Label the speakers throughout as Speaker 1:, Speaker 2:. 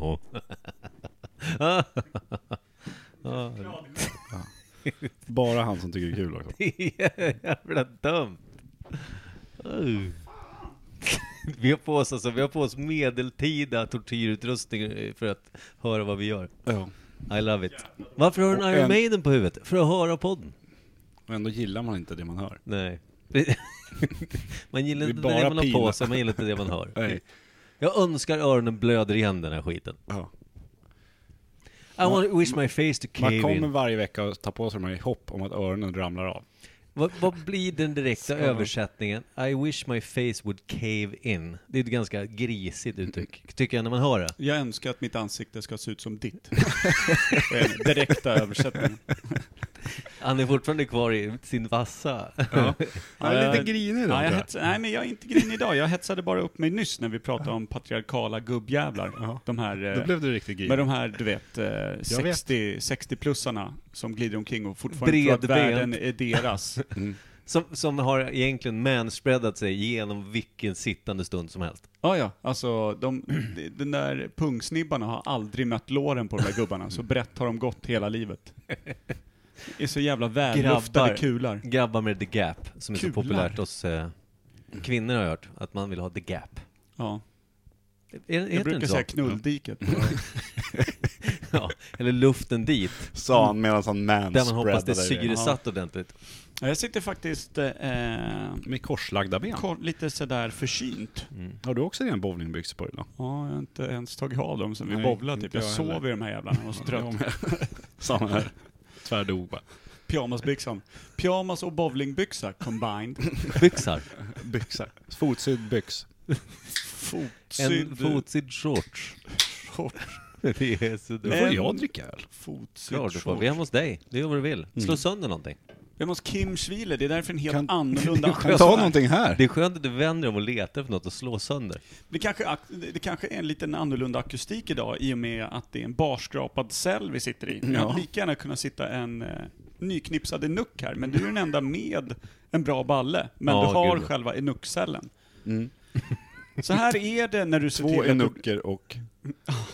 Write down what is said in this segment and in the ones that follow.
Speaker 1: hon. Ja,
Speaker 2: Bara han som tycker det är kul också.
Speaker 1: det är jävla dumt. Uh. Vi har på oss, alltså, vi har på oss medeltida tortyrutrustning eh, för att höra vad vi gör.
Speaker 2: Ja.
Speaker 1: I love it. Varför har du en
Speaker 2: Och
Speaker 1: Iron
Speaker 2: en-
Speaker 1: Maiden på huvudet? För att höra podden.
Speaker 2: Och ändå gillar man inte det man hör.
Speaker 1: Nej. man gillar
Speaker 2: Det är
Speaker 1: inte
Speaker 2: bara
Speaker 1: det man har på
Speaker 2: pina.
Speaker 1: sig, man gillar inte det man hör.
Speaker 2: Nej.
Speaker 1: Jag önskar öronen blöder igen den här skiten.
Speaker 2: Ja.
Speaker 1: I want, wish my face to
Speaker 2: Man
Speaker 1: cave
Speaker 2: kommer
Speaker 1: in.
Speaker 2: varje vecka och tar på sig de här i hopp om att öronen ramlar av.
Speaker 1: Vad, vad blir den direkta översättningen? I wish my face would cave in. Det är ett ganska grisigt uttryck, tycker jag, när man hör det.
Speaker 3: Jag önskar att mitt ansikte ska se ut som ditt. Det är den Direkta översättningen.
Speaker 1: Han är fortfarande kvar i sin vassa.
Speaker 2: Han är lite
Speaker 3: Eh,
Speaker 2: grinig då.
Speaker 3: Nej, jag
Speaker 2: Ja,
Speaker 3: hets- nej, men jag är inte grinig idag. Jag hetsade bara upp mig nyss när vi pratade om patriarkala gubbjävlar. De här... eh,
Speaker 2: då blev du riktigt grinig.
Speaker 3: Med de här, du vet, eh, 60 60-plussarna som glider omkring och fortfarande tror att
Speaker 1: Bredbent.
Speaker 3: världen är deras.
Speaker 1: Som, som har egentligen manspreadat sig genom vilken sittande stund som helst.
Speaker 3: Ja, ja. Alltså, de, den där pungsnibbarna har aldrig mött låren på de där gubbarna, så brett har de gått hela livet. Det är så jävla
Speaker 1: Grabbar.
Speaker 3: välluftade kular.
Speaker 1: Grabbar med the gap, som är så
Speaker 3: Kular.
Speaker 1: populärt hos eh, kvinnor har jag hört, att man vill ha the gap.
Speaker 3: Ja.
Speaker 1: Är,
Speaker 3: Jag
Speaker 1: heter det
Speaker 3: brukar
Speaker 1: inte
Speaker 3: säga
Speaker 1: så?
Speaker 3: knulldiket.
Speaker 1: Ja, eller luften dit,
Speaker 2: Sa han medan han
Speaker 1: där man hoppas det är
Speaker 2: manspreadade dig.
Speaker 1: syresatt ordentligt.
Speaker 3: Ja, jag sitter faktiskt eh,
Speaker 2: Med korslagda ben.
Speaker 3: kor- lite sådär försynt.
Speaker 2: Har du också dina bowlingbyxor på dig då?
Speaker 3: Ja, jag har inte ens tagit av dem sen vi
Speaker 2: Nej,
Speaker 3: bowlade
Speaker 2: inte
Speaker 3: typ. Jag,
Speaker 2: jag
Speaker 3: sov
Speaker 2: heller.
Speaker 3: i de här jävlarna, jag var så trött.
Speaker 2: Samma här. Tvärdog bara.
Speaker 3: Pyjamasbyxan. Pyjamas och bowlingbyxa combined.
Speaker 1: Byxar.
Speaker 2: Byxor. Fotsydd byx.
Speaker 1: En
Speaker 3: Fotsydd
Speaker 1: fotsydd shorts.
Speaker 3: shorts.
Speaker 1: Det är så
Speaker 2: Då
Speaker 1: dumt.
Speaker 2: får
Speaker 3: Men-
Speaker 2: jag dricka öl.
Speaker 3: Fotsydd
Speaker 1: Klart du får.
Speaker 3: shorts.
Speaker 1: Vi är hemma hos dig. Du gör vad du vill. Slå
Speaker 3: Mm.
Speaker 1: sönder någonting.
Speaker 3: Vem hos Kim Schwiler? Det är därför en helt
Speaker 2: Kan-
Speaker 3: annorlunda
Speaker 2: Kan jag ta någonting här?
Speaker 1: Det är skönt att du vänder om och letar efter något och slår sönder.
Speaker 3: Det kanske, ak- det kanske är en liten annorlunda akustik idag i och med att det är en barskrapad cell vi sitter i. Jag hade lika gärna kunnat sitta en eh, nyknipsad enuck här, men du är den enda med en bra balle. Men
Speaker 1: Ja,
Speaker 3: du har
Speaker 1: gud.
Speaker 3: själva enuckcellen. Så här är det när du ser
Speaker 2: Mm. Två
Speaker 3: till att du-
Speaker 2: enucker och,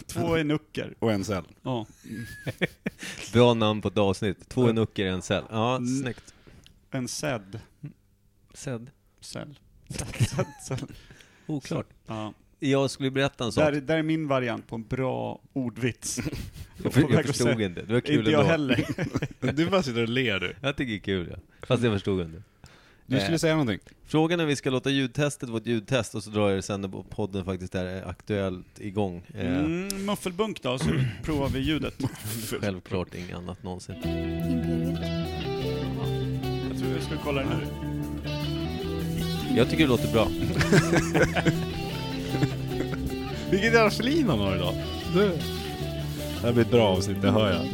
Speaker 3: två enucker.
Speaker 2: och en cell.
Speaker 3: Ja.
Speaker 1: Bra namn på ett avsnitt. Två enucker i en cell. Ja,
Speaker 3: Mm.
Speaker 1: snyggt.
Speaker 3: En sedd.
Speaker 1: Sedd.
Speaker 3: Cell. Cell, cell, cell.
Speaker 1: Oklart.
Speaker 3: Ja.
Speaker 1: Jag skulle berätta en sak.
Speaker 3: Där, där är min variant på en bra ordvits.
Speaker 1: jag,
Speaker 3: på
Speaker 1: för,
Speaker 3: väg
Speaker 1: jag
Speaker 3: att
Speaker 1: förstod
Speaker 3: säga-
Speaker 1: inte. Det var kul
Speaker 3: Inte jag
Speaker 1: ändå.
Speaker 3: heller.
Speaker 2: Du bara sitter och ler du. Eh.
Speaker 1: Jag tycker det är kul, ja. Fast jag förstod inte.
Speaker 2: Du skulle säga någonting.
Speaker 1: Frågan är om vi ska låta ljudtestet vara ett ljudtest och så drar jag det sen när podden faktiskt är aktuellt igång. Eh,
Speaker 3: Mm, muffelbunk då, så provar vi ljudet.
Speaker 1: Självklart inget annat någonsin.
Speaker 3: Jag tror jag ska kolla den här.
Speaker 1: Jag tycker det låter bra.
Speaker 2: Vilket jävla flin han har idag. Du. Det här blir ett bra avsnitt, det hör jag.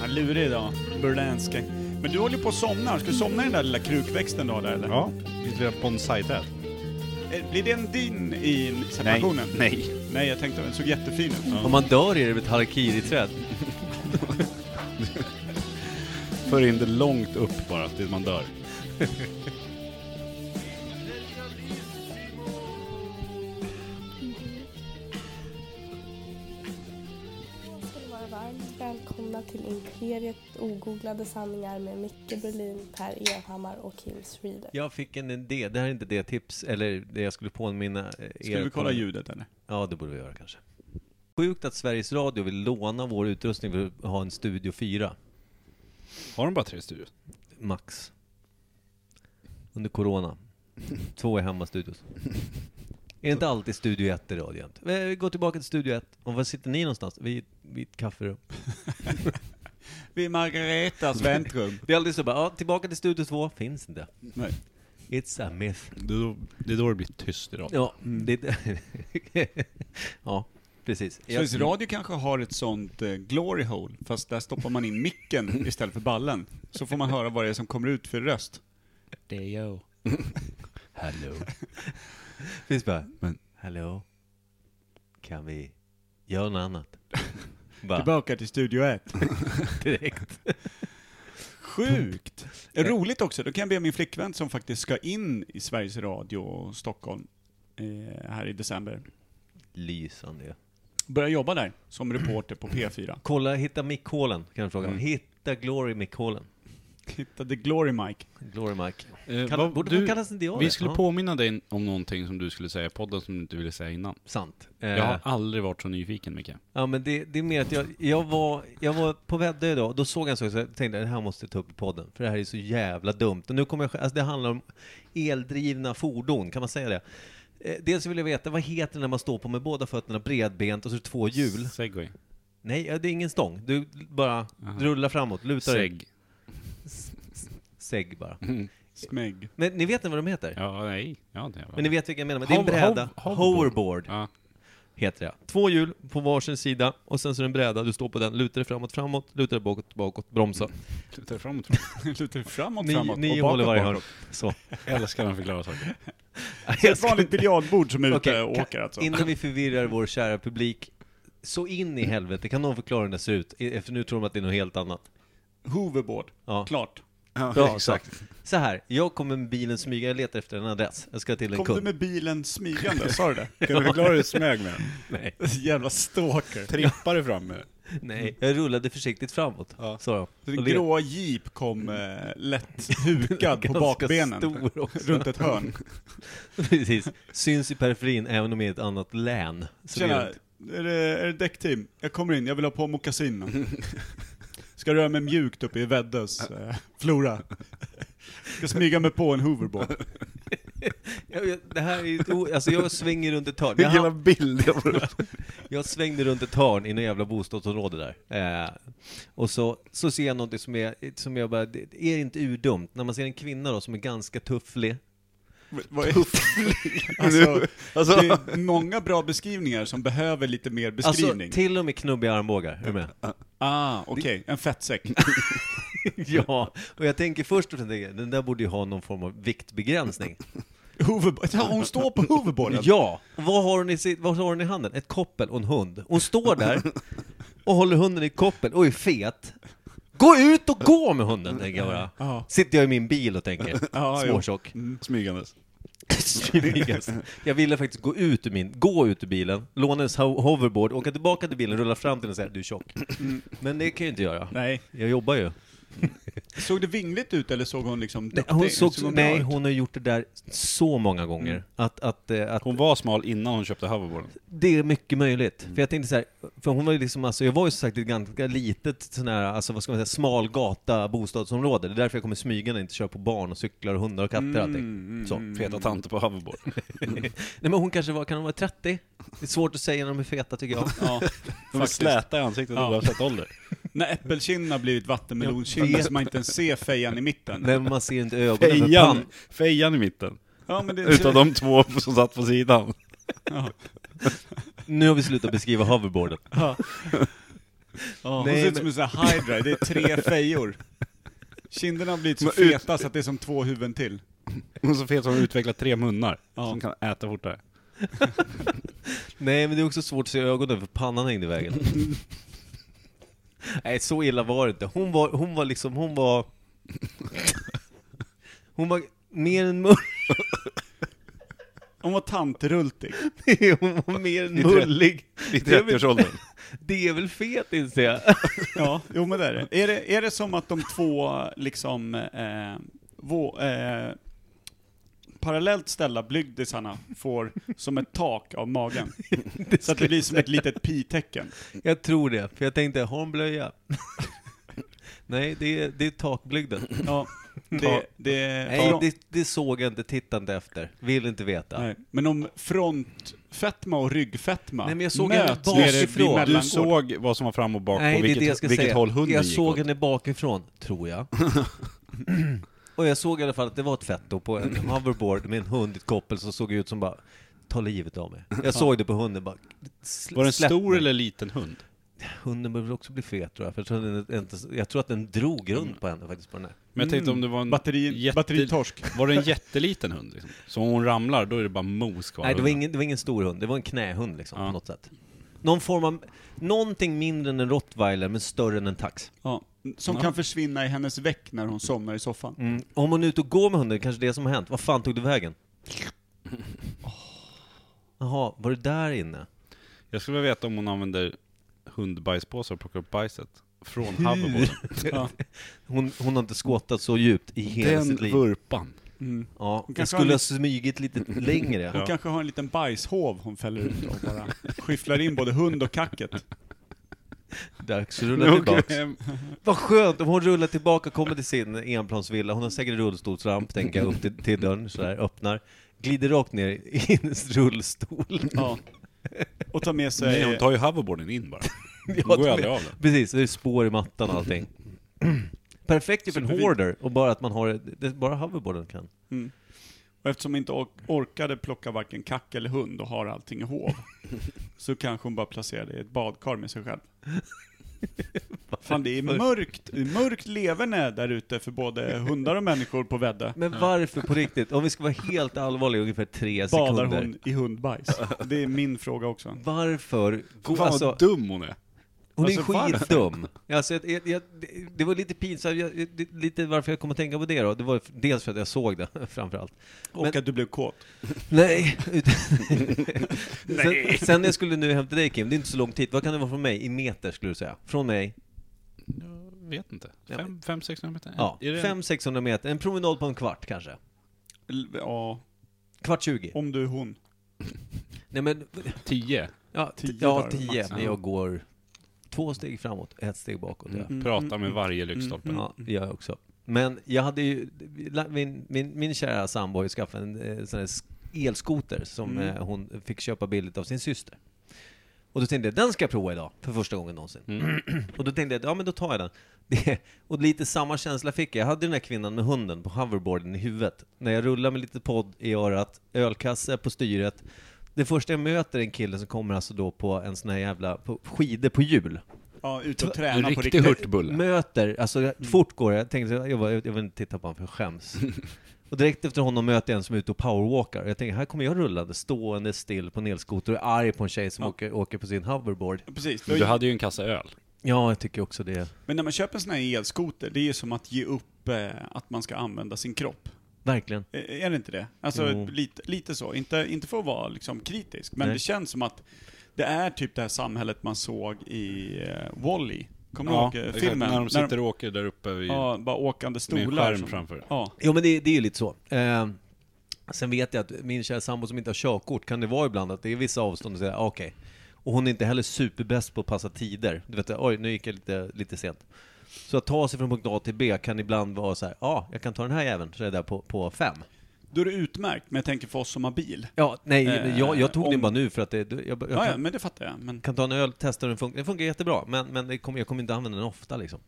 Speaker 3: Han är lurig idag. Burlänska. Men du håller ju på att somna. Ska du somna i den där lilla krukväxten då, där, eller?
Speaker 2: Ja. Lite bonsai-träd.
Speaker 3: Eh, Blir den din i separationen?
Speaker 2: Nej.
Speaker 3: Nej, jag tänkte den såg jättefin ut.
Speaker 1: Om man dör är det ett harakiri-träd.
Speaker 2: För in det långt upp bara, tills man dör.
Speaker 4: ska ni vara varmt välkomna till Imperiet ogooglade sanningar med Micke Berlin, Per Evhammar och Kim Schreeder.
Speaker 1: Jag fick en idé. Det här är inte det tips, eller det jag skulle påminna eh, er
Speaker 3: Ska vi kolla
Speaker 1: om.
Speaker 3: ljudet eller?
Speaker 1: Ja, det borde vi göra kanske. Sjukt att Sveriges Radio vill låna vår utrustning för att ha en Studio 4,
Speaker 2: Har de bara tre studios?
Speaker 1: max. Under Corona. Två är hemmastudios. Är inte alltid Studio 1 i radio jämt? Eh, Vi går tillbaka till Studio 1. Och var sitter ni någonstans? Vid, vid ett kafferum.
Speaker 3: Vid Margaretas väntrum.
Speaker 1: Det är alltid så bara, ja, tillbaka till Studio 2. Finns inte.
Speaker 3: Nej.
Speaker 1: It's a myth. Mm.
Speaker 2: Det är då det, är då det blir tyst idag.
Speaker 1: Ja, det... ja, precis. Jag-
Speaker 3: Sveriges Radio kanske har ett sånt eh, glory hole, fast där stoppar man in micken istället för ballen. Så får man höra vad det är som kommer ut för röst. Det är jag.
Speaker 1: Hello. Finns bara,
Speaker 2: Men-
Speaker 1: hello. Kan vi göra något annat? Bara,
Speaker 3: Tillbaka till Studio 1.
Speaker 1: direkt.
Speaker 3: Sjukt! Roligt också, då kan jag be min flickvän som faktiskt ska in i Sveriges Radio Stockholm eh, här i december.
Speaker 1: Lysande.
Speaker 3: Började jobba där som reporter på P4.
Speaker 1: Kolla, hitta mickhålen, kan jag fråga.
Speaker 3: Mm.
Speaker 1: Hitta Glory mickhålen.
Speaker 3: Hittade Glory Mike.
Speaker 1: Glory Mike.
Speaker 2: Eh,
Speaker 1: Kall-
Speaker 2: vad-
Speaker 1: borde
Speaker 2: du-
Speaker 1: man kallas inte jag
Speaker 2: Vi
Speaker 1: det?
Speaker 2: skulle
Speaker 1: Ja.
Speaker 2: påminna dig om någonting som du skulle säga i podden som du inte ville säga innan.
Speaker 1: Sant. Eh,
Speaker 2: Jag har aldrig varit så nyfiken, Micke.
Speaker 1: Ja men det, det är mer att jag, jag, var, jag var på Väddö idag, då såg jag en sak så jag tänkte det här måste jag ta upp i podden, för det här är så jävla dumt. Och nu kommer jag, alltså det handlar om eldrivna fordon, kan man säga det? Eh, Dels vill jag veta, vad heter det när man står på med båda fötterna bredbent och så är det två hjul?
Speaker 2: Segway.
Speaker 1: Nej, ja, det är ingen stång. Du bara
Speaker 2: Aha.
Speaker 1: rullar framåt, lutar dig.
Speaker 2: Seg.
Speaker 1: Segg bara.
Speaker 3: Smeg.
Speaker 1: Men ni vet inte vad de heter?
Speaker 2: Ja, nej. Ja, det var.
Speaker 1: Men ni vet vilka jag menar? Men det är en
Speaker 2: Hov-
Speaker 1: bräda.
Speaker 2: hov-
Speaker 1: Hoverboard.
Speaker 2: Ja.
Speaker 1: heter det. Två hjul på varsin sida och sen så är det en bräda, du står på den, lutar dig framåt, framåt, lutar dig bakåt, bakåt, bromsa.
Speaker 2: Luta framåt.
Speaker 3: Lutar framåt,
Speaker 1: Nio,
Speaker 3: framåt
Speaker 1: nio
Speaker 3: och
Speaker 1: hål i
Speaker 3: bakåt,
Speaker 1: varje hörn.
Speaker 3: bakåt.
Speaker 1: Så.
Speaker 2: Jag älskar när han förklarar saker.
Speaker 3: Det är ett vanligt biljardbord som är ute
Speaker 1: Okej,
Speaker 3: och
Speaker 1: kan-
Speaker 3: åker alltså.
Speaker 1: Innan vi förvirrar vår kära publik, så in i helvete, kan någon förklara hur det ser ut? E- För nu tror de att det är något helt annat.
Speaker 3: Hoverboard.
Speaker 1: Ja.
Speaker 3: Klart.
Speaker 1: Bra, exakt. Så här, jag kommer med bilen smyga, jag letar efter en adress. Jag ska till en
Speaker 3: Kom
Speaker 1: kund.
Speaker 3: du med bilen smygande? Sa du det?
Speaker 2: Kan du förklara hur du smög med den?
Speaker 1: Nej,
Speaker 3: Jävla stalker.
Speaker 2: Trippar du fram med den?
Speaker 1: nej, jag rullade försiktigt framåt,
Speaker 2: Ja.
Speaker 1: sa jag.
Speaker 3: Den
Speaker 1: Och le-
Speaker 3: gråa jeep kom eh, lätt hukad på
Speaker 1: Ganska
Speaker 3: bakbenen.
Speaker 1: stor också.
Speaker 3: Runt ett hörn.
Speaker 1: Precis. Syns i periferin även om i ett annat län. Så det
Speaker 3: Tjena,
Speaker 1: gör
Speaker 3: är det, är det däckteam? Jag kommer in, jag vill ha på mockasinen. Ska röra mig mjukt uppe i Väddös eh, flora. Ska smyga mig på en hoverboard.
Speaker 1: Jag vet, Det här är ju, ett o- alltså jag svänger runt ett hörn. Jag,
Speaker 2: Vilken jävla
Speaker 1: ham-
Speaker 2: bild jag får upp.
Speaker 1: jag svängde runt ett hörn i något jävla bostadsområde där. Eh, och så, så ser jag någonting som, är, som jag bara, det det är inte urdumt. När man ser en kvinna då som är ganska tufflig.
Speaker 3: Vad är- Alltså,
Speaker 2: Alltså,
Speaker 3: det är många bra beskrivningar som behöver lite mer
Speaker 1: Alltså
Speaker 3: beskrivning.
Speaker 1: till och med knubbiga armbågar, är du med?
Speaker 3: ah, okej, en fettsäck.
Speaker 1: ja, och jag tänker först och främst, tänker jag, den där borde ju ha någon form av viktbegränsning.
Speaker 3: Hoverboard. Ja, hon står på hoverboarden.
Speaker 1: Ja! Vad har, hon i sitt, vad har hon i handen? Ett koppel och en hund. Hon står där och håller hunden i koppel och är fet. Gå ut och gå med hunden, tänker jag bara.
Speaker 3: Ja.
Speaker 1: Sitter jag i min bil och tänker.
Speaker 3: Ja, jo.
Speaker 1: Småtjock.
Speaker 3: Mm.
Speaker 2: smygandes.
Speaker 1: Smygas. jag ville faktiskt gå ut ur min, gå ut ur bilen, låna en ho- hoverboard, åka tillbaka till bilen, rulla fram till den och säga du är tjock.
Speaker 3: Mm.
Speaker 1: Men det kan jag inte göra.
Speaker 3: Nej.
Speaker 1: Jag jobbar ju.
Speaker 3: Såg det vingligt ut eller såg hon liksom
Speaker 1: Nej,
Speaker 3: duktig?
Speaker 1: hon, såg,
Speaker 3: bra Mm.
Speaker 1: nej,
Speaker 3: ut?
Speaker 1: hon har gjort det där så många gånger. Att, att, eh, att,
Speaker 2: Hon var smal innan hon köpte hoverboarden.
Speaker 1: Det är mycket möjligt. För jag tänkte så här, för hon var ju liksom, alltså, jag var ju som sagt i ett ganska litet sån här, alltså vad ska man säga, smal gata bostadsområde. Det är därför jag kommer smyga när jag inte kör på barn och cyklar och hundar och katter och allting. Så.
Speaker 2: Feta tanter på hoverboard.
Speaker 1: Nej men hon kanske var, kan hon vara 30? Det är svårt att säga när de är feta tycker jag.
Speaker 3: Ja,
Speaker 2: De är
Speaker 3: faktiskt.
Speaker 2: släta i ansiktet
Speaker 3: Ja.
Speaker 2: oavsett ålder.
Speaker 3: När äppelkinden har blivit
Speaker 1: Jag
Speaker 3: vattenmelonkinden
Speaker 1: vet.
Speaker 3: så man inte ens ser fejan i mitten.
Speaker 1: Men man ser inte ögonen för
Speaker 2: Fejan,
Speaker 1: pann.
Speaker 2: fejan i mitten.
Speaker 3: Ja, men det,
Speaker 2: Utav de två som satt på sidan.
Speaker 3: Ja.
Speaker 1: Nu har vi slutat beskriva hoverboarden.
Speaker 3: Ja. Ja, hon
Speaker 1: Nej,
Speaker 3: ser
Speaker 1: men-
Speaker 3: ut som en sån här hydra, det är tre fejor. Kinderna har blivit så
Speaker 2: Men ut-
Speaker 3: feta så att det är som två huvuden till.
Speaker 2: Hon så fet som hon utvecklat tre munnar.
Speaker 3: Ja.
Speaker 2: Som kan äta fortare.
Speaker 1: Nej men det är också svårt att se ögonen för pannan hängde i vägen. Nej så illa var det inte. Hon var, hon var liksom, hon var... Hon var mer än mörk.
Speaker 3: Hon var tantrultig.
Speaker 1: Hon var mer än
Speaker 2: Det är tre-
Speaker 1: mullig.
Speaker 2: I
Speaker 1: Det är väl-
Speaker 2: 30-årsåldern.
Speaker 1: Det är väl fet inser jag.
Speaker 3: Ja, jo men det är det. Är det, är det som att de två liksom, eh, vå, eh, parallellt ställda blygdisarna får som ett tak av magen? Så att det blir som ett litet pi-tecken.
Speaker 1: Jag tror det, för jag tänkte, har hon blöja? Nej, det är, det är takblygden.
Speaker 3: Ja, det, det,
Speaker 1: Nej, det, det såg jag inte tittande efter. Vill inte veta.
Speaker 3: Nej, Men om frontfetma och ryggfetma
Speaker 1: Nej, men jag såg henne
Speaker 3: möts
Speaker 1: bakifrån.
Speaker 3: nere vid
Speaker 1: Du
Speaker 2: Du
Speaker 3: mellangård.
Speaker 2: såg vad som var fram och bak
Speaker 1: Nej,
Speaker 2: och
Speaker 1: det är
Speaker 2: vilket,
Speaker 1: det jag ska
Speaker 2: vilket
Speaker 1: säga.
Speaker 2: håll hunden
Speaker 1: jag
Speaker 2: gick
Speaker 1: såg
Speaker 2: åt.
Speaker 1: henne bakifrån, tror jag. Och jag såg i alla fall att det var ett fett då på en hoverboard med en hund i ett koppel som såg ut som bara Ta livet av mig. Jag såg det på hunden bara. sl-
Speaker 2: Var det en
Speaker 1: släpp
Speaker 2: stor
Speaker 1: mig.
Speaker 2: eller liten hund?
Speaker 1: Hunden behöver också bli fet tror jag. För jag, tror att den, inte- jag tror att den drog runt på henne faktiskt på den här.
Speaker 2: Men jag tänkte om det var en
Speaker 3: Batteri,
Speaker 2: jätte-
Speaker 3: Batteritorsk.
Speaker 2: Var det en jätteliten hund liksom? Så om hon ramlar, då är det bara mos kvar.
Speaker 1: Nej, det var,
Speaker 2: hunden.
Speaker 1: ingen, det var ingen stor hund. Det var en knähund liksom,
Speaker 2: Ja.
Speaker 1: på något sätt. Någon form av, någonting mindre än en rottweiler, men större än en tax.
Speaker 3: Ja, som kan försvinna i hennes väck när hon somnar i soffan.
Speaker 1: Om hon är ute och går med hunden, kanske det som har hänt. Vad fan tog du vägen? Jaha, var du där inne?
Speaker 2: Jag skulle vilja veta om hon använder hundbajspåsar och plockar upp bajset. Från hoverboarden.
Speaker 3: Ja.
Speaker 1: Hon, hon har inte skottat så djupt i hela
Speaker 2: Den
Speaker 1: sitt liv.
Speaker 2: vurpan.
Speaker 3: Mm.
Speaker 1: Ja, hon
Speaker 3: kanske
Speaker 1: skulle
Speaker 3: har
Speaker 1: ha smygit lite längre.
Speaker 3: Hon kanske har en liten bajshov hon fäller ut och bara skyfflar in både hund och kacket.
Speaker 1: Dags att rulla tillbaks. Vad skönt om hon rullar tillbaka, kommer till sin enplansvilla, hon har säkert en rullstolsramp, tänker jag, upp till, till dörren sådär, öppnar, glider rakt ner i en rullstol.
Speaker 3: Ja. Och tar med sig...
Speaker 2: Nej, hon tar ju hoverboarden in bara. Hon går ju aldrig av den.
Speaker 1: Precis, det är spår i mattan och allting. Perfekt ju för en
Speaker 3: Superfint.
Speaker 1: hoarder, och bara att man har, det är bara hoverboarden kan.
Speaker 3: Mm. Och eftersom hon inte ork- orkade plocka varken kack eller hund och har allting i hov, så kanske hon bara placerade det i ett badkar med sig själv. Fan, det är mörkt, det är mörkt leverne där ute för både hundar och människor på Väddö.
Speaker 1: Men varför på riktigt? Om vi ska vara helt allvarliga i ungefär tre
Speaker 3: Badar
Speaker 1: sekunder.
Speaker 3: hon i hundbajs? Det är min fråga också.
Speaker 1: Varför?
Speaker 2: Fan
Speaker 1: Gå, alltså,
Speaker 2: vad dum hon är.
Speaker 1: hon är
Speaker 2: alltså, varför?
Speaker 1: skitdum. Alltså, jag, jag, jag, det- det var lite pinsamt, jag, det, lite varför jag kom att tänka på det då. Det var dels för att jag såg det, framförallt.
Speaker 3: Och
Speaker 1: Men-
Speaker 3: att du blev kåt.
Speaker 1: Nej. utan- sen, sen när jag skulle nu hem till dig Kim, det är inte så lång tid. Vad kan det vara från mig? I meter skulle du säga? Från mig?
Speaker 2: Jag vet inte.
Speaker 1: Ja, men-
Speaker 2: 500-600 meter?
Speaker 1: Ja,
Speaker 2: Är det-
Speaker 1: 500-600 meter. En promenad på en kvart kanske.
Speaker 3: L- Ja,
Speaker 1: Kvart 20.
Speaker 3: om du är hon.
Speaker 1: Nej men,
Speaker 2: Tio.
Speaker 1: ja, t-
Speaker 3: Tio
Speaker 1: ja
Speaker 3: dagar
Speaker 1: 10.
Speaker 3: max.
Speaker 1: Men jag går två steg framåt, ett steg bakåt. Ja.
Speaker 3: Mm,
Speaker 2: Prata
Speaker 3: mm,
Speaker 2: med
Speaker 3: mm.
Speaker 2: varje lyktstolpe.
Speaker 3: Mm.
Speaker 1: Ja, det gör jag också. Men jag hade ju, min, min, min kära sambo har ju skaffat en eh, sån här s- elskoter som
Speaker 3: Mm.
Speaker 1: eh, hon fick köpa billigt av sin syster. Och då tänkte jag, den ska jag prova idag, för första gången någonsin.
Speaker 3: Mm.
Speaker 1: Och då tänkte jag, ja men då tar jag den. Det, och lite samma känsla fick jag. Jag hade den här kvinnan med hunden på hoverboarden i huvudet. När jag rullar med lite podd i örat, ölkasse på styret. Det första jag möter är en kille som kommer alltså då på en sån här jävla, på skidor på hjul
Speaker 3: Ja, ut och
Speaker 2: En
Speaker 3: träna på
Speaker 2: riktig
Speaker 3: riktigt.
Speaker 2: hurtbulle.
Speaker 1: möter, alltså jag, fort går det. jag, tänkte, jag, bara, jag vill inte titta på honom för jag skäms. Och direkt efter honom möter jag en som är ute och powerwalkar. Och Jag tänker, här kommer jag rullande, stående still på en elskoter och är arg på en tjej som
Speaker 3: Ja.
Speaker 1: åker, åker på sin hoverboard.
Speaker 3: Precis, du har
Speaker 2: Du hade ju en kassa öl.
Speaker 1: Ja, jag tycker också det.
Speaker 3: Men när man köper en sån här elskoter, det är ju som att ge upp eh, att man ska använda sin kropp.
Speaker 1: Verkligen.
Speaker 3: Eh, Är det inte det? Alltså
Speaker 1: Jo.
Speaker 3: lite, lite så. Inte, inte för att vara liksom, kritisk, men
Speaker 1: Nej.
Speaker 3: det känns som att det är typ det här samhället man såg i eh, Wall-E. Kommer du ihåg eh,
Speaker 2: exakt.
Speaker 3: filmen?
Speaker 2: När de sitter och åker där uppe vid,
Speaker 3: ja, bara åkande
Speaker 2: med
Speaker 3: stolar.
Speaker 2: en skärm
Speaker 3: som-
Speaker 2: framför.
Speaker 3: Ja.
Speaker 1: Jo men det, det är ju lite så. Eh, sen vet jag att min kära sambo som inte har körkort, kan det vara ibland att det är vissa avstånd och säga ah, okej. Och hon är inte heller superbäst på att passa tider. Du vet, oj nu gick jag lite, lite sent. Så att ta sig från punkt A till B kan ibland vara så här, ja, ah, jag kan ta den här jäveln, så är jag där på, på fem.
Speaker 3: Då är det utmärkt, men jag tänker för oss som har bil.
Speaker 1: Ja, nej,
Speaker 3: Eh,
Speaker 1: jag, jag tog
Speaker 3: om-
Speaker 1: den bara nu för att det, jag, jag kan,
Speaker 3: Ja, ja, men det fattar jag. Men...
Speaker 1: kan ta en öl, testa hur den funkar. Den funkar jättebra, men, men det kommer, jag kommer inte använda den ofta liksom.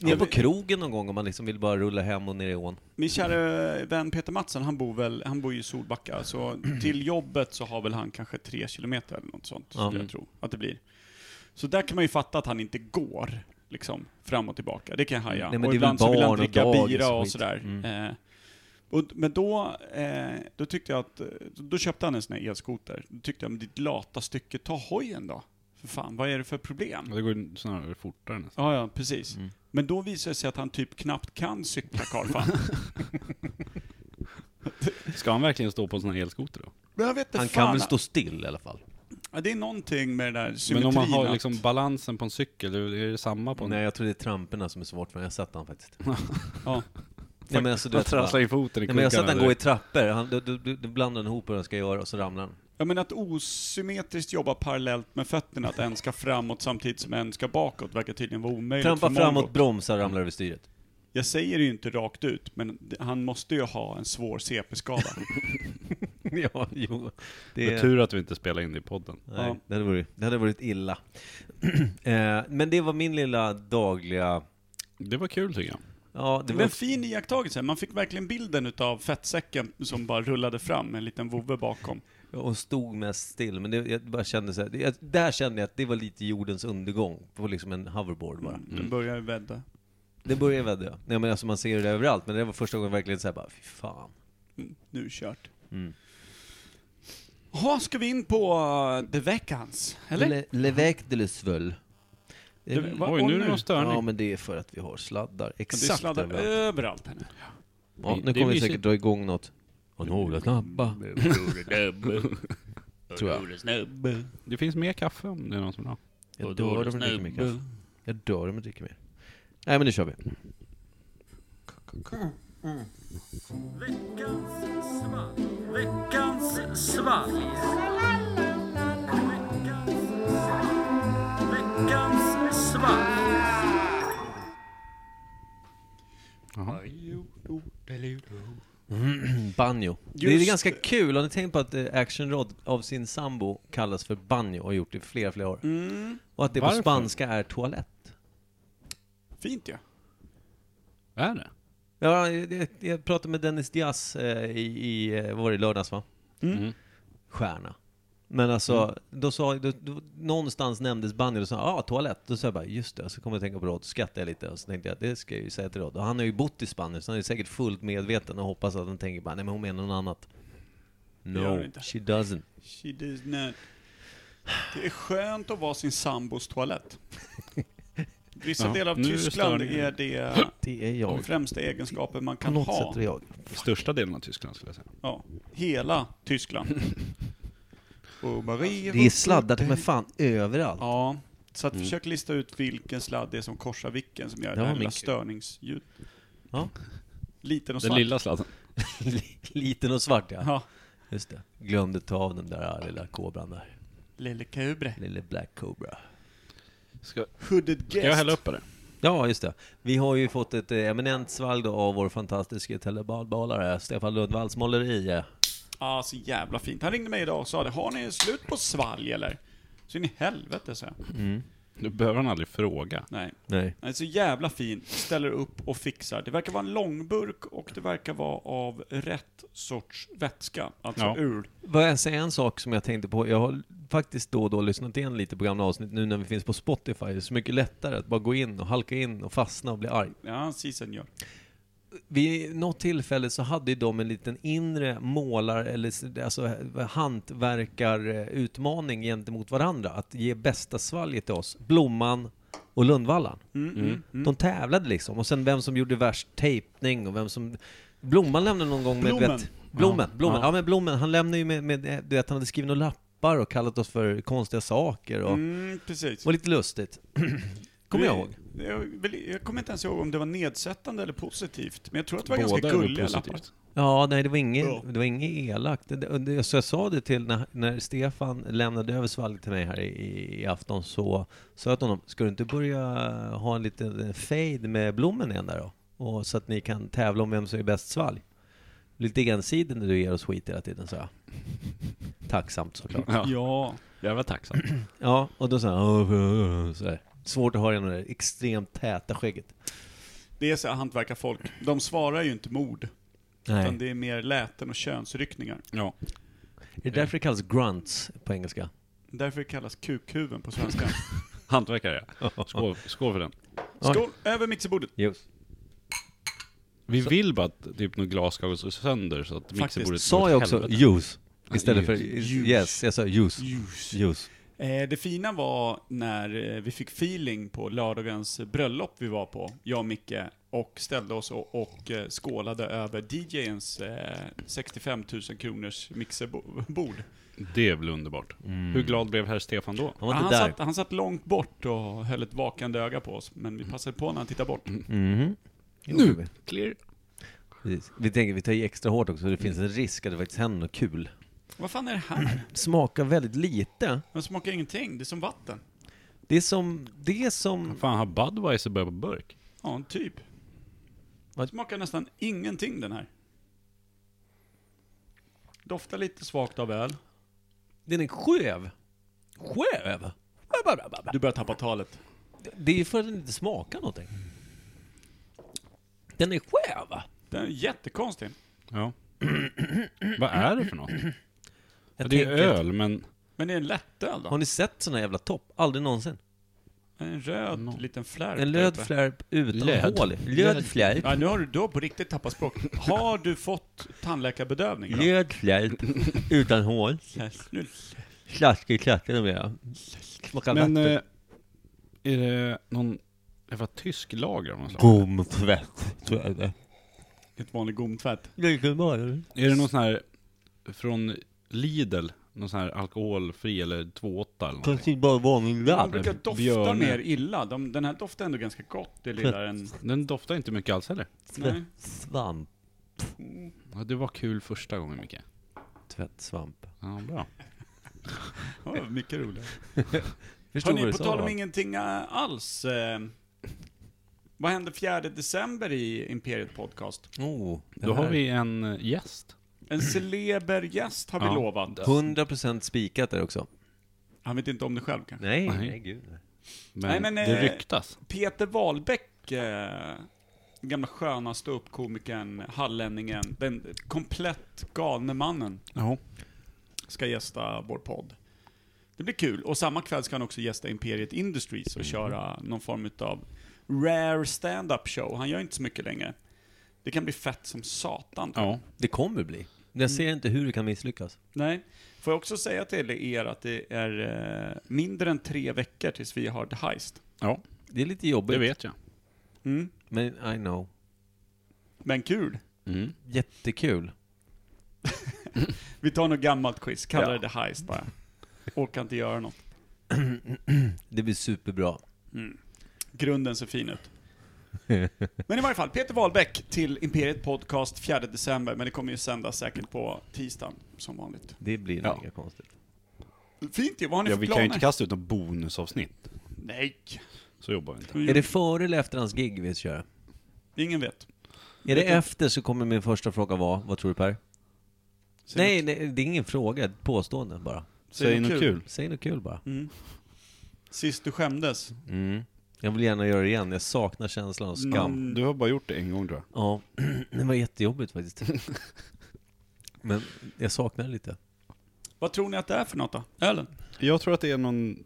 Speaker 1: Ner
Speaker 3: Ja,
Speaker 1: på
Speaker 3: vi-
Speaker 1: krogen någon gång om man liksom vill bara rulla hem och ner i ån.
Speaker 3: Min kära vän Peter Mattsson, han bor väl, han bor ju i Solbacka, så till jobbet så har väl han kanske tre kilometer eller något sånt,
Speaker 1: Ja.
Speaker 3: skulle jag tro att det blir. Så där kan man ju fatta att han inte går, liksom, fram och tillbaka. Det kan jag haja.
Speaker 1: Nej, men det är
Speaker 3: och
Speaker 1: väl
Speaker 3: ibland så vill han
Speaker 1: barn och
Speaker 3: dricka
Speaker 1: dagis
Speaker 3: bira
Speaker 1: och
Speaker 3: och
Speaker 1: skit.
Speaker 3: sådär.
Speaker 1: Mm.
Speaker 3: Eh, och, men då, eh, då tyckte jag att, eh, då köpte han en sån här elskoter. Då tyckte jag, men ditt lata stycke, ta hojen då. För fan, vad är det för problem?
Speaker 2: Ja, Det går ju snarare fortare nästan.
Speaker 3: Ja, ja, precis.
Speaker 1: Mm.
Speaker 3: Men då visar det sig att han typ knappt kan cykla, Karl.
Speaker 2: Ska han verkligen stå på en sån här elskoter då?
Speaker 3: Men jag vet inte
Speaker 1: Han
Speaker 3: fan.
Speaker 1: kan väl stå still i alla fall.
Speaker 3: Ja, det är någonting med det där
Speaker 2: Men
Speaker 3: symmetrin.
Speaker 2: om man har
Speaker 3: att-
Speaker 2: liksom balansen på en cykel, är det- är det samma på en...
Speaker 1: Nej, jag tror det är tramporna som är svårt för mig. Jag har sett han faktiskt.
Speaker 3: ja.
Speaker 1: Nej, men alltså, du
Speaker 2: Han
Speaker 1: vet, bara,
Speaker 2: trasslar
Speaker 1: nej,
Speaker 2: in foten i
Speaker 1: men jag har sett han
Speaker 2: kuggarna
Speaker 1: gå i
Speaker 2: direkt.
Speaker 1: trappor. Han, du, du, du, du blandar ihop hur han ska göra och så ramlar han.
Speaker 3: ja, men att osymmetriskt jobba parallellt med fötterna, att en ska framåt samtidigt som en ska bakåt, verkar tydligen vara omöjligt
Speaker 1: Trampa
Speaker 3: för Mongo.
Speaker 1: framåt, bromsar, ramlar över styret.
Speaker 3: Jag säger det ju inte rakt ut, men det- han måste ju ha en svår CP-skada.
Speaker 1: ja, jo. Det
Speaker 2: Det är
Speaker 1: är...
Speaker 2: tur att vi inte spelar in det i podden.
Speaker 1: Nej,
Speaker 3: Ja.
Speaker 1: det, hade varit, det hade varit illa. eh, men det var min lilla dagliga...
Speaker 2: Det var kul tycker jag.
Speaker 1: Ja,
Speaker 3: det var en fin iakttagelse, man fick verkligen bilden utav fettsäcken som bara rullade fram med en liten vovve bakom.
Speaker 1: Hon stod mest still, men det, jag bara kände så här, det, jag, där kände jag att det var lite jordens undergång, på liksom en hoverboard bara.
Speaker 2: Mm.
Speaker 3: Den börjar ju vädda.
Speaker 1: Det började väl dö. Nej men alltså man ser det överallt, men det var första gången verkligen såhär bara, fy fan.
Speaker 3: Mm, nu är det kört.
Speaker 1: Mm.
Speaker 3: Jaha, ska vi in på uh, det veckans? Eller?
Speaker 1: Le, Levec de Lesveul.
Speaker 3: Det- va-
Speaker 2: Oj,
Speaker 3: och
Speaker 2: nu är
Speaker 3: nu?
Speaker 2: det någon störning.
Speaker 1: Ja men det är för att vi har sladdar.
Speaker 3: Det
Speaker 1: Exakt
Speaker 3: sladdar
Speaker 2: Eh,
Speaker 1: överallt.
Speaker 3: överallt här nu.
Speaker 1: Ja,
Speaker 2: Det
Speaker 1: nu kommer
Speaker 2: är
Speaker 1: vi
Speaker 2: mysigt.
Speaker 1: säkert dra igång något. Och några snabba. Tror jag.
Speaker 5: Snubbe.
Speaker 2: Det finns mer kaffe om det är någon som vill ha.
Speaker 1: Jag dör om jag dricker mer kaffe. Jag dör om jag dricker mer. Nej men nu kör vi. Banjo. det är
Speaker 3: Just
Speaker 1: ganska
Speaker 3: det.
Speaker 1: kul, har ni tänkt på att eh, Action Rod av sin sambo kallas för banjo och har gjort det i flera, flera år?
Speaker 3: Mm.
Speaker 1: Och att det på
Speaker 2: Varför?
Speaker 1: spanska är toalett.
Speaker 3: Fint ja.
Speaker 2: Är det?
Speaker 1: Ja, jag, jag pratade med Dennis Diaz eh, i, i eh, vad var det, lördags va?
Speaker 2: Mm.
Speaker 1: Stjärna. Men alltså,
Speaker 3: Mm.
Speaker 1: då sa, då, då, någonstans nämndes banjo, och sa ja, ah, toalett. Då sa jag bara, just det, så kom jag att tänka på Rod, så skrattade jag lite, och så tänkte jag, det ska jag ju säga till Rod. Och han har ju bott i Spanien, så han är säkert fullt medveten och hoppas att han tänker bara, nej men hon menar något annat.
Speaker 3: gör hon
Speaker 1: No,
Speaker 3: inte.
Speaker 1: she doesn't.
Speaker 3: She does not. Det är skönt att vara sin sambos toalett. Vissa
Speaker 2: Ja,
Speaker 3: delar av
Speaker 2: nu är det
Speaker 3: Tyskland
Speaker 2: störning.
Speaker 3: är det
Speaker 1: Det är
Speaker 3: de
Speaker 1: jag.
Speaker 3: främsta egenskaper man
Speaker 1: På
Speaker 3: kan
Speaker 1: något
Speaker 3: ha.
Speaker 1: sätt är det jag.
Speaker 2: Största delen av Tyskland skulle jag säga.
Speaker 3: Ja, hela Tyskland. Och Marie
Speaker 1: Det är sladdar till mig fan överallt.
Speaker 3: Ja, så
Speaker 2: Mm.
Speaker 3: att försök lista ut vilken sladd det är som korsar vilken som gör det
Speaker 1: var
Speaker 3: här
Speaker 1: min
Speaker 3: lilla
Speaker 1: kul.
Speaker 3: störningsljud.
Speaker 1: Ja.
Speaker 3: Liten och
Speaker 2: Den
Speaker 3: svart.
Speaker 2: lilla sladden.
Speaker 1: Liten och svart ja.
Speaker 3: Ja.
Speaker 1: Just det. Glömde ta av den där lilla kobran där.
Speaker 3: Lille kubre.
Speaker 1: Lille Black Cobra.
Speaker 2: Ska,
Speaker 3: Hooded guest.
Speaker 2: ska jag hälla upp det?
Speaker 1: Ja, just det. Vi har ju fått ett eh, eminent svalg då av vår fantastiske telebalbalare Stefan Lundvalls måleri. eh.
Speaker 3: Ja, så jävla fint. Han ringde mig idag och sa det. Har ni slut på svalg eller? Så in i helvete, så jag.
Speaker 2: Du behöver han aldrig fråga.
Speaker 3: Nej.
Speaker 1: Nej.
Speaker 3: Han är så jävla fin, ställer upp och fixar. Det verkar vara en långburk och det verkar vara av rätt sorts vätska. Alltså
Speaker 2: Ja.
Speaker 3: ur.
Speaker 1: Vad jag säger en sak som jag tänkte på. Jag har faktiskt då och då lyssnat igen lite på gamla avsnitt nu när vi finns på Spotify. Det är så mycket lättare att bara gå in och halka in och fastna och bli arg.
Speaker 3: Ja, si senor.
Speaker 1: Vid något tillfälle så hade ju de en liten inre målar eller s- alltså, hantverkarutmaning gentemot varandra. Att ge bästa svalget till oss. Blomman och Lundvallan.
Speaker 3: Mm,
Speaker 2: Mm.
Speaker 1: De tävlade liksom. Och sen vem som gjorde värst tejpning och vem som... Blomman lämnade någon gång med... du
Speaker 3: Blommen.
Speaker 1: Vet, blommen.
Speaker 2: Ja,
Speaker 1: Blommen.
Speaker 2: ja.
Speaker 1: Ja men Blommen, han lämnade ju med, med... Du vet, han hade skrivit några lappar och kallat oss för konstiga saker och...
Speaker 3: Mm, precis.
Speaker 1: Och lite lustigt. Kommer jag ihåg.
Speaker 3: Jag, vill- jag kommer inte ens ihåg om det var nedsättande eller positivt, men jag tror att det var
Speaker 2: Båda
Speaker 3: ganska
Speaker 2: är väl
Speaker 3: gulliga lappar.
Speaker 2: positivt.
Speaker 1: Ja, nej det var inget,
Speaker 3: Ja.
Speaker 1: det var inget elakt. Det- Det, det, så jag sa det till när, när Stefan lämnade över svalget till mig här i, i afton så sa jag till honom, ska du inte börja ha en liten fade med blommen igen där då? Och, så att ni kan tävla om vem som är bäst svalg. Lite ensidig när du ger oss skit hela tiden, sa jag. Tacksamt såklart.
Speaker 2: Ja,
Speaker 3: Ja,
Speaker 2: jävla tacksam.
Speaker 1: Ja, och då sa han sådär. Svårt att höra genom det där extremt täta skägget.
Speaker 3: det är så här hantverkarfolk. De svarar ju inte mord,
Speaker 1: Nej.
Speaker 3: utan det är mer läten och könsryckningar.
Speaker 2: Ja.
Speaker 1: Är det därför det kallas grunts på engelska?
Speaker 3: Därför kallas kukhuven på svenska.
Speaker 2: Hantverkare, ja. Skål, skål för den.
Speaker 3: Skål! Över mixerbordet.
Speaker 1: Just.
Speaker 2: Vi vill bara att typ något glas ska gå sönder så att mixerbordet
Speaker 1: Sa
Speaker 2: går
Speaker 1: jag
Speaker 2: åt
Speaker 1: också
Speaker 2: helvete.
Speaker 1: juice? Istället för
Speaker 2: Juice.
Speaker 1: yes, jag sa juice. Juice.
Speaker 3: Eh, det fina var när eh, vi fick feeling på lördagens bröllop vi var på, jag och Micke, och ställde oss och, och eh, skålade över DJens eh, 65 000 kronors mixerbord.
Speaker 2: Det är väl underbart.
Speaker 1: Mm.
Speaker 2: Hur glad blev herr Stefan då?
Speaker 1: Han var
Speaker 3: Ah, han,
Speaker 1: inte där.
Speaker 3: satt, han satt långt bort och höll ett vakande öga på oss, men vi passade på när han tittade bort.
Speaker 1: Mhm. Nu! Vi.
Speaker 2: Clear.
Speaker 1: Precis. vi tänker vi tar i extra hårt också, så det finns en risk att det faktiskt händer något kul.
Speaker 3: Vad fan är det här?
Speaker 1: Smakar väldigt lite.
Speaker 3: Den smakar ingenting, det är som vatten.
Speaker 1: Det är som, det är som,
Speaker 2: Fan, har Budweiser börjat på burk?
Speaker 3: Ja, typ.
Speaker 1: Vad-
Speaker 3: Smakar nästan ingenting den här. Doftar lite svagt av öl.
Speaker 1: den är skev. Skev?
Speaker 3: Du börjar tappa talet.
Speaker 1: Det är ju för att den inte smakar någonting. Den är skev.
Speaker 3: Den är jättekonstig.
Speaker 2: Ja. Vad är det för något?
Speaker 1: Jag
Speaker 2: det är
Speaker 1: tänker-
Speaker 2: öl, men...
Speaker 3: Men det är en lättöl då.
Speaker 1: Har ni sett såna jävla topp? Aldrig någonsin.
Speaker 3: En röd liten flärp.
Speaker 1: En
Speaker 3: där
Speaker 1: löd
Speaker 3: uppe.
Speaker 1: flärp utan
Speaker 2: Löd.
Speaker 1: hål. Löd flärp.
Speaker 3: Ja, nu har du då på riktigt tappat språk. Har du fått tandläkarbedövning? då?
Speaker 1: Löd flärp utan hål.
Speaker 3: Nu-
Speaker 1: Slaskig klatte de är. Smakar
Speaker 2: Men
Speaker 1: vatten.
Speaker 2: eh, är det någon jävla tysk lager av något slag?
Speaker 1: Gomtvätt, tror jag det är.
Speaker 3: Ett vanligt gomtvätt.
Speaker 1: Vilken var det?
Speaker 2: Är det någon sån här från Lidl? någon sån här alkoholfri eller 2,8 eller någonting.
Speaker 1: Kanske bara vanlig
Speaker 3: De
Speaker 1: ladd.
Speaker 3: brukar dofta
Speaker 2: björne.
Speaker 3: mer illa. De, den här doftar ändå ganska gott, det lilla en...
Speaker 2: Den doftar inte mycket alls heller.
Speaker 3: Nej.
Speaker 1: Svamp.
Speaker 2: Ja, det var kul första gången Micke.
Speaker 1: Tvättsvamp.
Speaker 2: Ja, bra.
Speaker 3: Ja, mycket roligare.
Speaker 1: Förstår vad du
Speaker 3: Hörni, på
Speaker 1: sa,
Speaker 3: tal om
Speaker 1: va?
Speaker 3: ingenting eh, alls. Eh, vad händer 4 december i Imperiet Podcast?
Speaker 1: Oh, det
Speaker 2: Då har
Speaker 1: här-
Speaker 2: vi en eh, gäst.
Speaker 3: En celeber gäst har vi
Speaker 2: Ja.
Speaker 3: lovat.
Speaker 1: 100% spikat där också.
Speaker 3: Han vet inte om det själv kanske.
Speaker 1: Nej,
Speaker 2: Nej.
Speaker 1: nej gud. nej.
Speaker 2: Men,
Speaker 3: Nej, men, eh,
Speaker 2: det ryktas.
Speaker 3: Peter Wahlbeck, eh, gamla sköna ståuppkomikern, hallänningen, den komplett galne mannen,
Speaker 2: Ja.
Speaker 3: ska gästa vår podd. Det blir kul. Och samma kväll ska han också gästa Imperiet Industries och köra någon form av rare stand-up show. Han gör inte så mycket längre. Det kan bli fett som satan.
Speaker 2: ja.
Speaker 1: Det kommer bli. Men Jag ser inte hur det kan misslyckas.
Speaker 3: Nej. Får jag också säga till er att det är eh, mindre än tre veckor tills vi har The Heist.
Speaker 2: Ja,
Speaker 1: Det är lite
Speaker 2: det
Speaker 1: jobbigt.
Speaker 2: vet jag.
Speaker 3: Mm.
Speaker 1: Men I know.
Speaker 3: Men kul.
Speaker 2: Mm.
Speaker 1: Jättekul.
Speaker 3: Vi tar något gammalt quiz, kallar
Speaker 2: Ja.
Speaker 3: det The Heist bara. Orkar inte göra något. Mm.
Speaker 1: Det blir superbra.
Speaker 3: Grunden ser fin ut. Men i varje fall, Peter Wahlbeck till Imperiet Podcast 4 december, men det kommer ju sändas säkert på tisdagen, som vanligt.
Speaker 1: Det blir
Speaker 2: Ja.
Speaker 1: nog inga konstigt.
Speaker 3: Fint ju, vad har ni
Speaker 2: Ja,
Speaker 3: för
Speaker 2: vi kan ju
Speaker 3: planer?
Speaker 2: inte kasta ut något bonusavsnitt.
Speaker 3: Nej!
Speaker 2: Så jobbar vi inte.
Speaker 1: Är det före eller efter hans gig vi ska köra?
Speaker 3: Ingen vet.
Speaker 1: Är det
Speaker 3: Vet inte.
Speaker 1: efter så kommer min första fråga vara, vad tror du Per?
Speaker 3: Säg
Speaker 1: Nej, nej, det är ingen fråga, ett påstående bara.
Speaker 2: Säg något kul.
Speaker 1: Säg något kul bara.
Speaker 3: Mm. Sist du skämdes.
Speaker 1: Mm. Jag vill gärna göra det igen, jag saknar känslan av skam.
Speaker 3: Mm.
Speaker 2: Du har bara gjort det en gång tror jag.
Speaker 1: Ja, det var jättejobbigt faktiskt. Men jag saknar det lite.
Speaker 3: Vad tror ni att det är för något då? Ölen?
Speaker 2: Jag tror att det är någon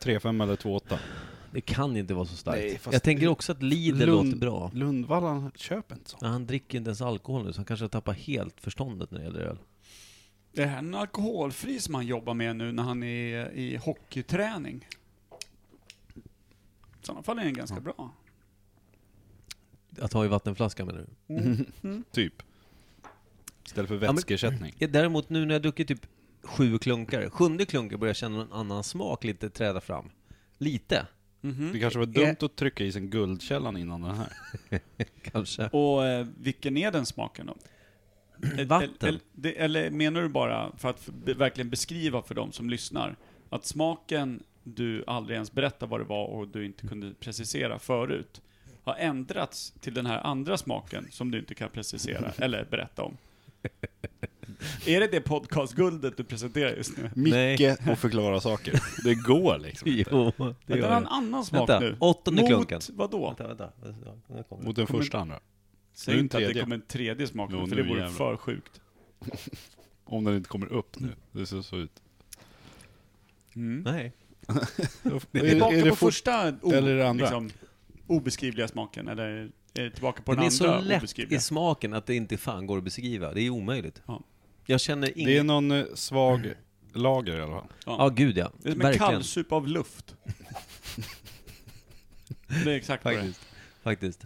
Speaker 2: 3-5 eller 2-8.
Speaker 1: Det kan inte vara så starkt.
Speaker 2: Nej, fast-
Speaker 1: jag tänker också att Lidl
Speaker 2: Lund-
Speaker 1: låter bra.
Speaker 2: Lundvallan köper inte sånt.
Speaker 1: Ja, han dricker inte ens alkohol nu, så han kanske har tappat helt förståndet när det gäller öl.
Speaker 3: Det är en alkoholfri som han jobbar med nu när han är i hockeyträning. I sådana fall är den ganska bra.
Speaker 1: Att ha i vattenflaska menar du?
Speaker 2: Typ. Istället för
Speaker 1: Ja, men-
Speaker 2: vätskeersättning.
Speaker 1: Ja, Däremot nu när jag druckit typ sju klunkar, sjunde klunken börjar jag känna en annan smak lite träda fram. Lite,
Speaker 2: Det kanske var dumt att trycka i sig guldkällan innan den här.
Speaker 1: kanske.
Speaker 3: Och eh, vilken är den smaken då? Eh,
Speaker 1: Vatten.
Speaker 3: Eller, eller, eller menar du bara, för att f- be, verkligen beskriva för de som lyssnar, att smaken du aldrig ens berättade vad det var och du inte kunde precisera förut, har ändrats till den här andra smaken som du inte kan precisera eller berätta om? Är det det podcastguldet du presenterar just nu?
Speaker 1: Nej.
Speaker 2: Micke och förklara saker. Det går liksom inte.
Speaker 1: Jo, det
Speaker 3: Det
Speaker 1: gör
Speaker 3: var en
Speaker 1: det.
Speaker 3: annan smak
Speaker 1: Vänta,
Speaker 3: nu.
Speaker 1: åttonde
Speaker 3: Mot
Speaker 1: klunken.
Speaker 3: vadå?
Speaker 1: Vänta, vänta. Ja, nu kommer det.
Speaker 2: Mot den första andra.
Speaker 3: Säg
Speaker 2: Nu är
Speaker 3: inte att det
Speaker 2: tredje.
Speaker 3: kommer en tredje smak nu,
Speaker 2: Jo,
Speaker 3: för
Speaker 2: nu
Speaker 3: det vore
Speaker 2: jävlar.
Speaker 3: för sjukt.
Speaker 2: Om den inte kommer upp nu. Det ser så ut.
Speaker 1: Nej.
Speaker 3: Det är Mm. tillbaka på
Speaker 2: fort-
Speaker 3: första o-
Speaker 2: eller det andra?
Speaker 3: Liksom, obeskrivliga smaken, eller är det tillbaka på
Speaker 1: Den
Speaker 3: den
Speaker 1: är så
Speaker 3: andra
Speaker 1: lätt
Speaker 3: obeskrivliga?
Speaker 1: i smaken att det inte fan går att beskriva. Det är omöjligt.
Speaker 3: Ja.
Speaker 1: Jag känner
Speaker 2: Det är
Speaker 1: ingen...
Speaker 2: någon eh, svag lager i alla fall.
Speaker 1: Ja, gud ja.
Speaker 3: Det är som en
Speaker 1: Verkligen.
Speaker 3: kallsup av luft. det är exakt vad det är.
Speaker 1: Faktiskt.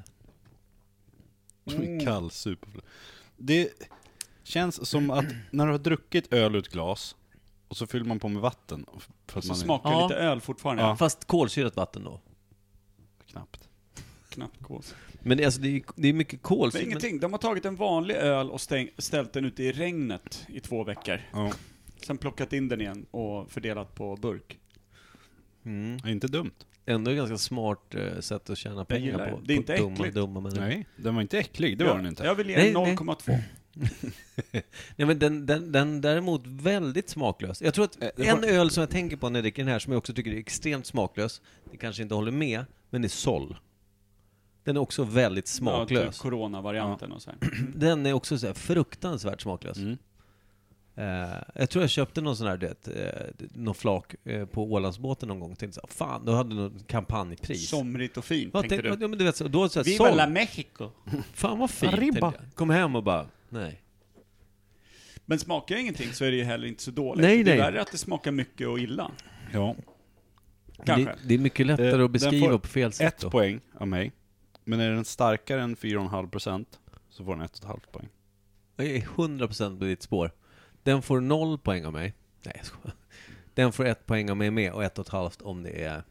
Speaker 1: Faktiskt.
Speaker 3: Mm.
Speaker 2: Kall super. Det känns som att när du har druckit öl ur ett glas och så fyller man på med vatten. För att
Speaker 3: Så
Speaker 2: man är-
Speaker 3: smakar
Speaker 1: Ja.
Speaker 3: lite öl fortfarande.
Speaker 2: Ja.
Speaker 1: Fast kolsyrat vatten då.
Speaker 2: Knappt.
Speaker 3: Knappt gås.
Speaker 1: Men det, alltså, det, är, det är mycket kol.
Speaker 3: Men ingenting, de har tagit en vanlig öl och stäng, ställt den ute i regnet i två veckor.
Speaker 2: Ja,
Speaker 3: Sen plockat in den igen och fördelat på burk.
Speaker 1: Mm.
Speaker 2: inte dumt.
Speaker 1: Ändå ett ganska smart eh, sätt att tjäna pengar
Speaker 3: gillar det.
Speaker 1: på.
Speaker 3: Det är inte
Speaker 1: på dumma,
Speaker 3: äckligt.
Speaker 1: dumma människor. Nej.
Speaker 2: Nej, den var inte äcklig. Det var den inte.
Speaker 3: Jag vill ge
Speaker 1: Nej,
Speaker 3: en
Speaker 1: nej.
Speaker 3: 0,2.
Speaker 1: men den, den, den däremot väldigt smaklös. Jag tror att
Speaker 2: Eh, det
Speaker 1: en
Speaker 2: var-
Speaker 1: öl som jag tänker på när jag dricker den här, som jag också tycker är extremt smaklös, det kanske inte håller med, men det är Sol. Den är också väldigt
Speaker 3: Ja,
Speaker 1: smaklös.
Speaker 3: typ Corona-varianten och så här.
Speaker 1: Den är också så här fruktansvärt smaklös.
Speaker 2: Mm.
Speaker 1: Eh, jag tror jag köpte någon sån här, du vet, eh, någon flak eh, på Ålandsbåten någon gång. Tänkte så här, fan, då hade någon kampanjpris.
Speaker 3: Somrigt och fint,
Speaker 1: Vad
Speaker 3: tänkte
Speaker 1: tänkte
Speaker 3: du.
Speaker 1: Ja, men du vet, så- då så här,
Speaker 3: Viva
Speaker 1: Sol.
Speaker 3: la Mexico!
Speaker 1: Fan vad fint,
Speaker 2: Arriba.
Speaker 1: tänkte jag. Kom hem och bara, nej.
Speaker 3: Men smakar jag ingenting så är det ju heller inte så dåligt.
Speaker 1: Nej,
Speaker 3: det är
Speaker 1: nej.
Speaker 3: värre att det smakar mycket och illa.
Speaker 2: Ja.
Speaker 3: Kanske.
Speaker 1: Det, det är mycket lättare
Speaker 2: Eh,
Speaker 1: att
Speaker 2: den
Speaker 1: beskriva
Speaker 2: får
Speaker 1: på fel sätt
Speaker 2: Ett
Speaker 1: då.
Speaker 2: poäng av mig. Men är den starkare än 4,5% så får den 1,5 poäng.
Speaker 1: Jag är 100% på ditt spår. Den får noll poäng av mig. Nej, jag skojar. Den får ett poäng om jag är med och ett och ett halvt om det är pung,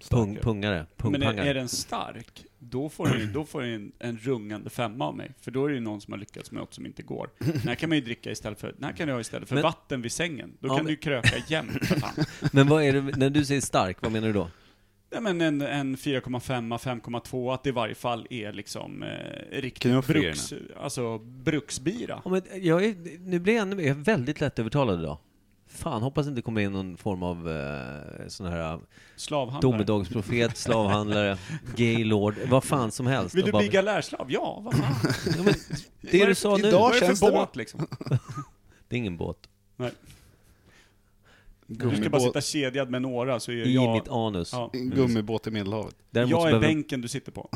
Speaker 2: Starkare.
Speaker 1: pungare.
Speaker 3: Men är,
Speaker 1: Pungpangare.
Speaker 3: är den stark, då får den, ju- då får den ju en, en rungande femma av mig. För då är det ju någon som har lyckats med något som inte går. Den här kan man ju dricka istället för, den här kan du ha istället för
Speaker 1: Men-
Speaker 3: vatten vid sängen. Då
Speaker 1: Ja,
Speaker 3: kan
Speaker 1: men-
Speaker 3: du ju kröka jämt för fan.
Speaker 1: Men vad är det, när du säger stark, vad menar du då?
Speaker 3: Nej men en, en 4,5, 5,2, att det i varje fall är liksom eh,
Speaker 2: Kan jag
Speaker 3: riktigt
Speaker 2: få
Speaker 3: bruks, alltså, bruksbira.
Speaker 1: Ja, men jag är, nu blir jag ännu mer, jag är väldigt lättövertalad idag. Fan, hoppas det inte kommer in någon form av eh, sån här eh,
Speaker 3: Slavhandlare.
Speaker 1: domedagsprofet, slavhandlare, gaylord, vad fan som helst.
Speaker 3: Vill
Speaker 1: Och
Speaker 3: du
Speaker 1: bara-
Speaker 3: bygga lärslav? Ja, vad fan.
Speaker 1: Ja, men, det
Speaker 3: Vad är
Speaker 1: du
Speaker 3: det-
Speaker 1: sa nu,
Speaker 2: idag-
Speaker 3: Vad är det
Speaker 2: känns
Speaker 3: för
Speaker 2: det
Speaker 3: båt liksom?
Speaker 1: det är ingen båt.
Speaker 3: Du ska
Speaker 2: Gummibåt,
Speaker 3: bara sitta kedjad med några så är
Speaker 1: I
Speaker 3: jag...
Speaker 1: mitt anus.
Speaker 3: ja.
Speaker 2: Mm. gummibåt i Medelhavet.
Speaker 1: Däremot så
Speaker 3: Jag är
Speaker 1: behöver-
Speaker 3: bänken du sitter på.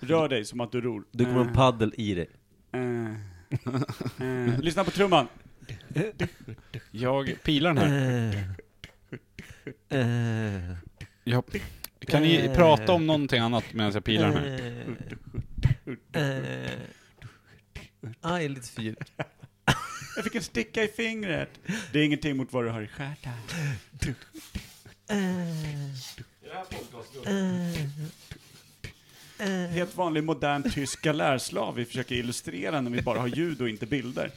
Speaker 3: Rör dig som att du ror.
Speaker 1: Det kommer en
Speaker 3: Eh.
Speaker 1: paddel i dig.
Speaker 3: Eh, eh, lyssna på trumman.
Speaker 2: Jag pilar den här.
Speaker 1: Eh, eh,
Speaker 2: Jag, kan ni prata om någonting annat medan jag pilar den här?
Speaker 1: eh, eh. Ah, det är lite för djupt.
Speaker 3: Jag fick en sticka i fingret. Det är ingenting mot vad du har i stjärten.
Speaker 1: Eh,
Speaker 3: Helt vanlig modern tysk galärslav vi försöker illustrera när vi bara har ljud och inte bilder.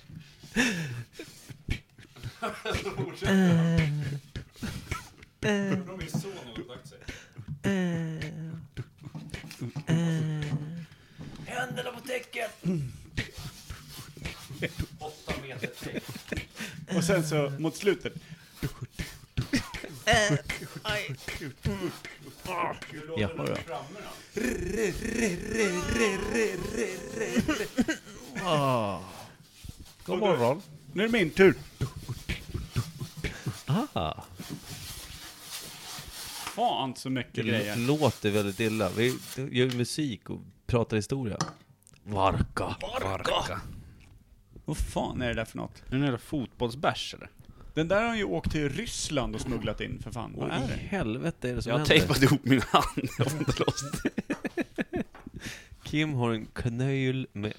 Speaker 1: Händerna på täcket! Åtta meter täck.
Speaker 3: Och sen så mot slutet.
Speaker 1: Jaha då. Ah. God morgon.
Speaker 3: Nu är det min tur.
Speaker 1: Ah,
Speaker 3: Fan så mycket
Speaker 1: det
Speaker 2: Mm.
Speaker 3: grejer.
Speaker 1: låter väldigt illa. Vi gör ju musik och pratar historia. Varka. Varka.
Speaker 3: Vad fan är det där för något?
Speaker 2: Är det en jävla fotbollsbärs eller?
Speaker 3: Den där har ju åkt till Ryssland och smugglat in för fan. Vad
Speaker 1: Vad
Speaker 3: är
Speaker 1: i
Speaker 3: det?
Speaker 1: helvete är det som
Speaker 2: Jag har
Speaker 1: händer?
Speaker 2: tejpat ihop min hand, jag får inte loss det.
Speaker 1: Kim har en knöjl med...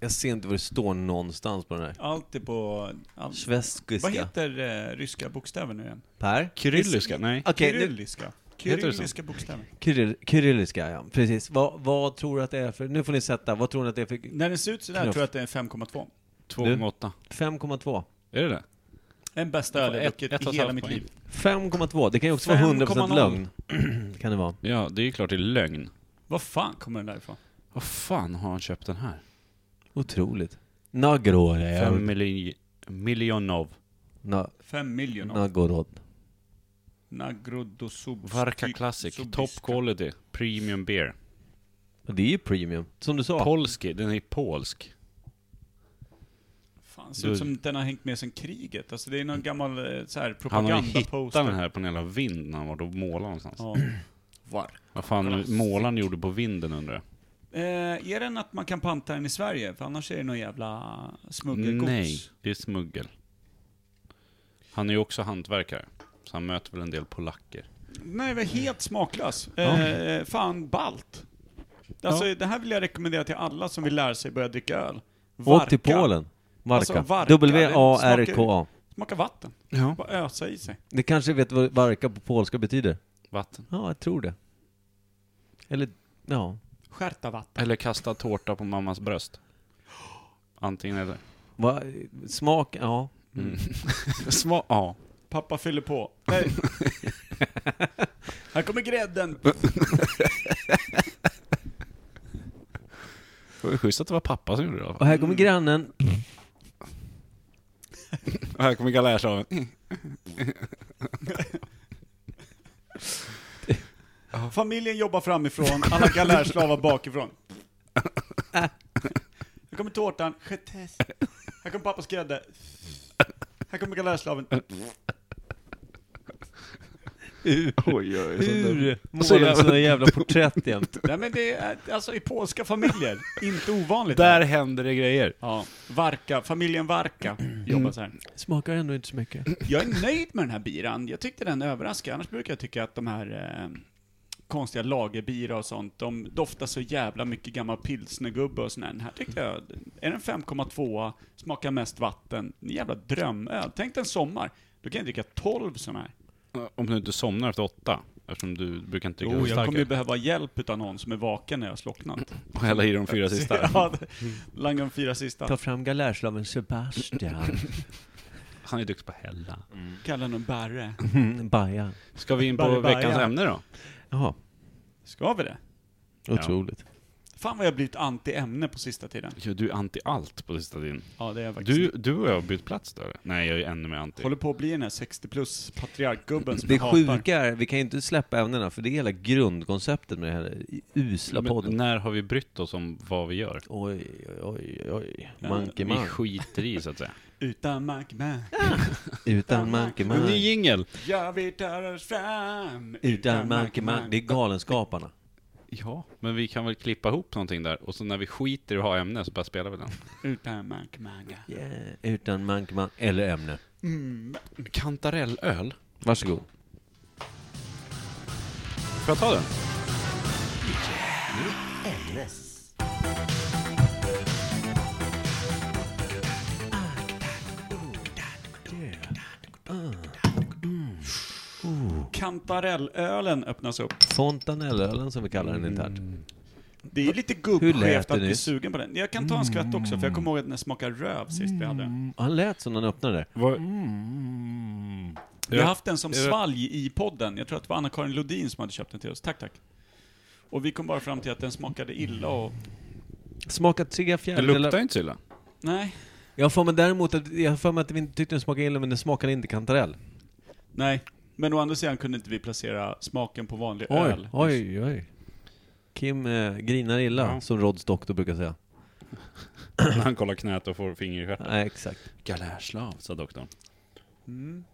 Speaker 1: Jag ser inte vad det står någonstans på den här.
Speaker 3: Allt är på... Allt.
Speaker 1: Svenskiska.
Speaker 3: Vad heter eh, ryska bokstäver nu igen?
Speaker 1: Per?
Speaker 2: Kyrilliska? Nej.
Speaker 1: Okej, nu...
Speaker 3: Kyrilliska.
Speaker 2: Heter det så?
Speaker 3: Kyrilliska bokstäver.
Speaker 1: Kyrill, kyrilliska, ja. Precis. Vad, vad tror du att det är för... Nu får ni sätta. Vad tror ni att det är för...
Speaker 3: När den ser ut sådär
Speaker 1: Knuff.
Speaker 3: tror jag att det är en 5,2.
Speaker 2: 2,8.
Speaker 1: 5,2
Speaker 2: Är det det?
Speaker 3: Den bästa
Speaker 2: Ja,
Speaker 3: öl jag
Speaker 2: ett-
Speaker 3: druckit
Speaker 2: ett och
Speaker 3: i
Speaker 2: ett
Speaker 3: hela
Speaker 2: halvt
Speaker 3: mitt
Speaker 2: poäng.
Speaker 3: liv.
Speaker 1: 5,2. Det kan ju också vara 100%
Speaker 3: 5,0.
Speaker 1: lögn. kan det vara.
Speaker 2: Ja, det är ju klart det är lögn.
Speaker 3: Vad fan kommer den därifrån?
Speaker 2: Vad fan har han köpt den här?
Speaker 1: Otroligt. Nagorod.
Speaker 2: Fem miljon... Miljonov.
Speaker 1: Na,
Speaker 3: Fem miljoner.
Speaker 1: Nagorod.
Speaker 3: Nagrodosub...
Speaker 2: Varka Classic. Top quality. Premium beer.
Speaker 1: Och Det är ju premium. Som du sa.
Speaker 2: Polski. Den är polsk.
Speaker 3: Fan, ser ut som den har hängt med sen kriget. Alltså det är någon gammal eh, så här
Speaker 2: Han har ju hittat
Speaker 3: propagandaposter.
Speaker 2: den här på en jävla vind när han var och målade någonstans.
Speaker 3: Ja. Var.
Speaker 2: Vad fan målaren gjorde på vinden undrar jag.
Speaker 3: Eh, är den att man kan panta den i Sverige? För annars är det någon jävla smuggelgods.
Speaker 2: Nej, det är smuggel. Han är ju också hantverkare. Så han möter väl en del polacker.
Speaker 3: Nej, men helt smaklös. Eh, fan, balt. Alltså, Det här vill jag rekommendera till alla som vill lära sig börja dricka öl.
Speaker 1: Åk till
Speaker 3: Varka.
Speaker 1: Polen. Varka.
Speaker 3: Alltså, Varka, det
Speaker 1: W-A-R-K-A.
Speaker 3: smakar- Smaka vatten.
Speaker 2: Ja.
Speaker 3: Bara ösa i sig.
Speaker 1: Det kanske vet vad varka på polska betyder?
Speaker 2: Vatten.
Speaker 1: Ja, jag tror det. Eller, ja.
Speaker 3: Skärta vatten.
Speaker 2: Eller kasta tårta på mammas bröst. Antingen eller.
Speaker 1: Va, smak, ja.
Speaker 2: Mm. Sma- ja.
Speaker 3: Pappa fyller på. Nej. här kommer grädden.
Speaker 2: Det var ju schysst att det var pappa som gjorde det i alla
Speaker 1: Och
Speaker 2: fall.
Speaker 1: här kommer grannen.
Speaker 2: Och här kommer galärslaven.
Speaker 3: Familjen jobbar framifrån, alla galärslavar bakifrån. Här kommer tårtan. Getes. Här kommer pappas grädde. Här kommer galärslaven.
Speaker 2: Oj, oj,
Speaker 1: Hur
Speaker 2: så
Speaker 1: målar de
Speaker 2: jävla-
Speaker 1: sådana jävla porträtt jämt?
Speaker 3: Nej men det är alltså i polska familjer, inte ovanligt.
Speaker 2: Där händer det grejer.
Speaker 3: Ja, Varka, familjen Varka jobbar så här.
Speaker 1: Smakar ändå inte så mycket.
Speaker 3: Jag är nöjd med den här biran. Jag tyckte den överraskade. Annars brukar jag tycka att de här eh, konstiga lagerbira och sånt, de doftar så jävla mycket gammal pilsnergubbe och sån här. Den här tyckte jag, är den 5,2, smakar mest vatten, en jävla drömöl. Tänk dig en sommar, då kan jag dricka 12 såna här.
Speaker 2: Om du inte somnar efter åtta, eftersom du brukar inte dricka
Speaker 3: Jo, jag kommer ju
Speaker 2: starkare.
Speaker 3: behöva hjälp utav någon som är vaken när jag har slocknat.
Speaker 2: Och hälla i de fyra sista.
Speaker 3: Ja, det- Langa de fyra sista.
Speaker 1: Ta fram galärslaven Sebastian.
Speaker 2: Han är duktig på att hälla.
Speaker 3: Kalla honom Barre.
Speaker 1: Mm, Baja.
Speaker 2: Ska vi in på
Speaker 3: Bari, bari,
Speaker 2: veckans
Speaker 3: ja.
Speaker 2: ämne då?
Speaker 1: Jaha,
Speaker 3: Ska vi det?
Speaker 1: otroligt.
Speaker 3: Fan vad jag har blivit anti-ämne på sista tiden.
Speaker 2: Ja, du är anti allt på sista tiden.
Speaker 3: Ja, det är jag faktiskt.
Speaker 2: Du, du och jag har bytt plats där. Nej, jag är ännu mer anti.
Speaker 3: Håller på att bli den här 60 plus patriarkgubben som
Speaker 1: Det
Speaker 3: jag hatar.
Speaker 1: sjuka är, vi kan ju inte släppa ämnena, för det är hela grundkonceptet med den här usla podden.
Speaker 2: Men när har vi brytt oss om vad vi gör? Eh,
Speaker 1: Oj, oj, oj.
Speaker 3: Ja,
Speaker 1: Monkey
Speaker 2: Vi
Speaker 1: man.
Speaker 2: skiter i så att säga.
Speaker 3: Utan Mac Man.
Speaker 1: Utan monkey man.
Speaker 2: En ny jingel!
Speaker 3: Ja, vi tar oss fram.
Speaker 1: Utan monkey man. Det är Galenskaparna.
Speaker 2: Ja, men vi kan väl klippa ihop någonting där och så när vi skiter i att ha ämne så bara spelar vi den.
Speaker 3: Utan Mac Man.
Speaker 1: Yeah. Utan monkey man. Eller ämne.
Speaker 2: Kantarellöl?
Speaker 1: Varsågod.
Speaker 2: Får jag ta den?
Speaker 3: Kantarellölen öppnas upp.
Speaker 1: Fontanellölen som vi kallar den internt.
Speaker 3: Det är lite
Speaker 1: Hur lät
Speaker 3: gubbskevt
Speaker 1: det
Speaker 3: att bli
Speaker 1: nyss?
Speaker 3: sugen på den. Jag kan ta en skvätt också, för jag kommer ihåg att den smakade röv sist vi hade.
Speaker 1: Mm. Han lät som när han öppnade det.
Speaker 2: Vad-
Speaker 3: Vi har haft den som
Speaker 2: är det-
Speaker 3: svalg i podden. Jag tror att det var Anna-Karin Lodin som hade köpt den till oss. Tack, tack. Och vi kom bara fram till att den smakade illa och...
Speaker 1: Smakade tre
Speaker 2: Det luktar
Speaker 1: fjärdedelar.
Speaker 2: ju inte så illa.
Speaker 3: Nej.
Speaker 1: Jag får mig däremot att, jag får mig att vi inte tyckte den smakade illa, men den smakade inte kantarell.
Speaker 3: Nej. Men å andra sidan kunde inte vi placera smaken på vanlig
Speaker 1: Oj,
Speaker 3: öl.
Speaker 1: oj, oj. Kim eh, grinar illa,
Speaker 2: Ja.
Speaker 1: som Rods doktor brukar säga.
Speaker 2: När han kollar knät och får finger i stjärten.
Speaker 1: Nej, exakt.
Speaker 2: Galärslav, sa doktorn.
Speaker 3: Den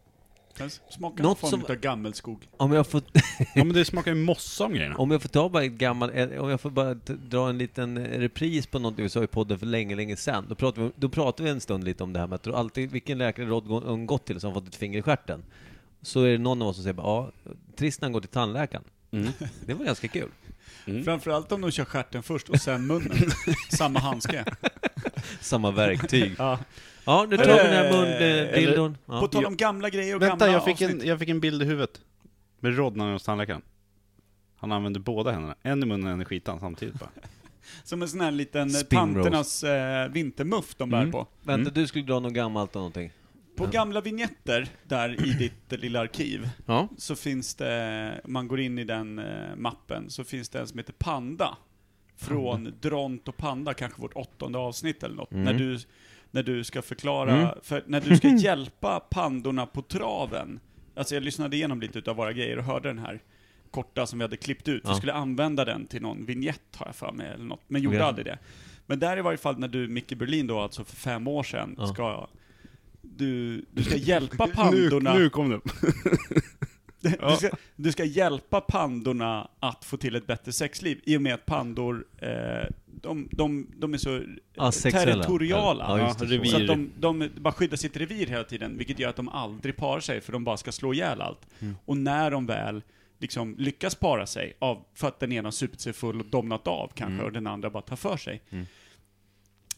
Speaker 3: smakar
Speaker 1: Något
Speaker 3: Något form
Speaker 1: som-
Speaker 3: utav gammelskog.
Speaker 1: Om jag får,
Speaker 2: Ja men det smakar ju mossa om grejerna.
Speaker 1: om jag får ta bara ett gammalt, eh, om jag får bara t- dra en liten eh, repris på något vi sa i podden för länge, länge sedan. Då pratade vi, då pratade vi en stund lite om det här med att du alltid, vilken läkare Rod gå- än gått till som har fått ett finger i stjärten. Så är det någon av oss som säger bara, ja, Tristan går till tandläkaren. Det var ganska kul.
Speaker 3: Framförallt om de kör stjärten först och sen munnen. Samma handske.
Speaker 1: Samma verktyg.
Speaker 3: Ja.
Speaker 1: Ja, nu tar vi den här
Speaker 3: Eh,
Speaker 1: mundildon.
Speaker 3: På
Speaker 1: Ja.
Speaker 3: tal om gamla grejer och
Speaker 2: Vänta,
Speaker 3: gamla
Speaker 2: jag fick, en,
Speaker 3: avsnitt.
Speaker 2: jag fick en bild i huvudet. Med Rod när han var hos tandläkaren. Han använde båda händerna. En i munnen och en i skitan samtidigt bara.
Speaker 3: Som en sån här liten eh,
Speaker 1: Spin roast.
Speaker 3: tanternas eh, vintermuff de
Speaker 2: Mm.
Speaker 3: bär på.
Speaker 1: Vänta, du skulle dra något gammalt och någonting.
Speaker 3: På gamla vignetter där i ditt eh, lilla arkiv
Speaker 1: Ja.
Speaker 3: så finns det, man går in i den eh, mappen, så finns det en som heter Panda. Från Dront och Panda, kanske vårt åttonde avsnitt eller något. När, du, när du ska förklara, för när du ska hjälpa pandorna på traven. Alltså jag lyssnade igenom lite utav våra grejer och hörde den här korta som vi hade klippt ut.
Speaker 1: Ja.
Speaker 3: Vi skulle använda den till någon vignett har jag för mig, eller något, men gjorde
Speaker 1: Okej.
Speaker 3: aldrig det. Men där i varje fall när du, Micke Berlin då, alltså för fem år sedan,
Speaker 1: Ja.
Speaker 3: ska du, du ska hjälpa pandorna...
Speaker 2: Nu, nu kom det.
Speaker 3: Du ska, du ska hjälpa pandorna att få till ett bättre sexliv i och med att pandor, eh, de, de, de är så eh,
Speaker 1: Asexuella.
Speaker 3: territoriala.
Speaker 1: Ja, just det.
Speaker 2: Ja, revir.
Speaker 3: Så att de, de bara skyddar sitt revir hela tiden, vilket gör att de aldrig parar sig för de bara ska slå ihjäl allt. Och när de väl liksom lyckas para sig, av, för att den ena har supit sig full och domnat av kanske, och den andra bara tar för sig.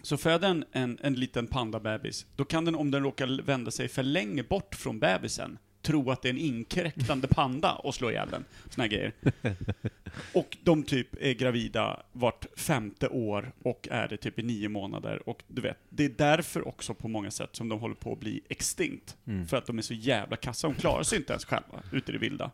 Speaker 3: Så föder en, en, en liten pandabebis, då kan den om den råkar vända sig för länge bort från bebisen, tro att det är en inkräktande panda och slå ihjäl den. Såna här grejer. Och de typ är gravida vart femte år och är det typ i nio månader. Och du vet, det är därför också på många sätt som de håller på att bli extinkt.
Speaker 2: Mm.
Speaker 3: För att de är så jävla kassa, de klarar sig inte ens själva ute i det vilda.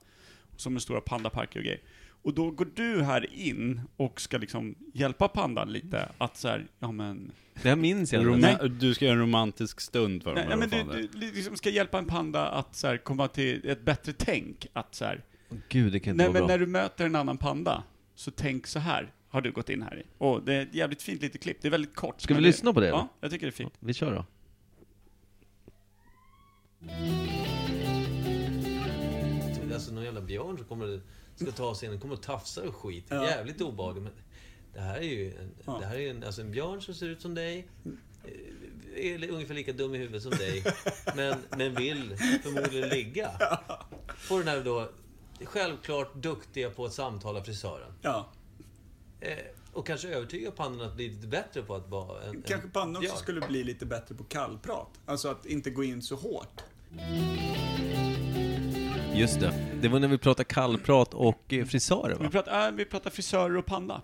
Speaker 3: Som med stora pandaparker och grejer. Och då går du här in och ska liksom hjälpa pandan lite att så här, ja men
Speaker 1: Det här minns jag. inte.
Speaker 2: Roma- du ska göra en romantisk stund för dem.
Speaker 3: Nej,
Speaker 2: eller
Speaker 3: men
Speaker 2: vad
Speaker 3: du,
Speaker 2: fan det är.
Speaker 3: du liksom ska hjälpa en panda att så här, komma till ett bättre tänk. Att så här,
Speaker 1: Gud, det kan inte vara
Speaker 3: nej,
Speaker 1: bra.
Speaker 3: men när du möter en annan panda, så tänk så här, har du gått in här i. Och det är ett jävligt fint litet klipp, det är väldigt kort.
Speaker 1: Ska
Speaker 3: men
Speaker 1: vi lyssna på det, eller?
Speaker 3: Ja, jag tycker det är fint.
Speaker 1: Vi kör då. Alltså någon jävla björn som kommer, ska ta sig in, den kommer och tafsar och skit. Jävligt obehagligt. Men det här är ju en, det här är en, alltså en björn som ser ut som dig. eh, Är li- ungefär lika dum i huvudet som dig. Men, men vill förmodligen ligga. På den här då självklart duktiga på att samtala frisören.
Speaker 3: Ja.
Speaker 1: Eh, och kanske övertyga pannan att bli lite bättre på att vara en...
Speaker 3: Kanske
Speaker 1: en,
Speaker 3: pannan också
Speaker 1: ja.
Speaker 3: skulle bli lite bättre på kallprat. Alltså att inte gå in så hårt.
Speaker 1: Just det. Det var när vi pratade kallprat och eh, frisörer
Speaker 3: Vi
Speaker 1: va?
Speaker 3: pratar, äh, vi pratar frisörer och panda.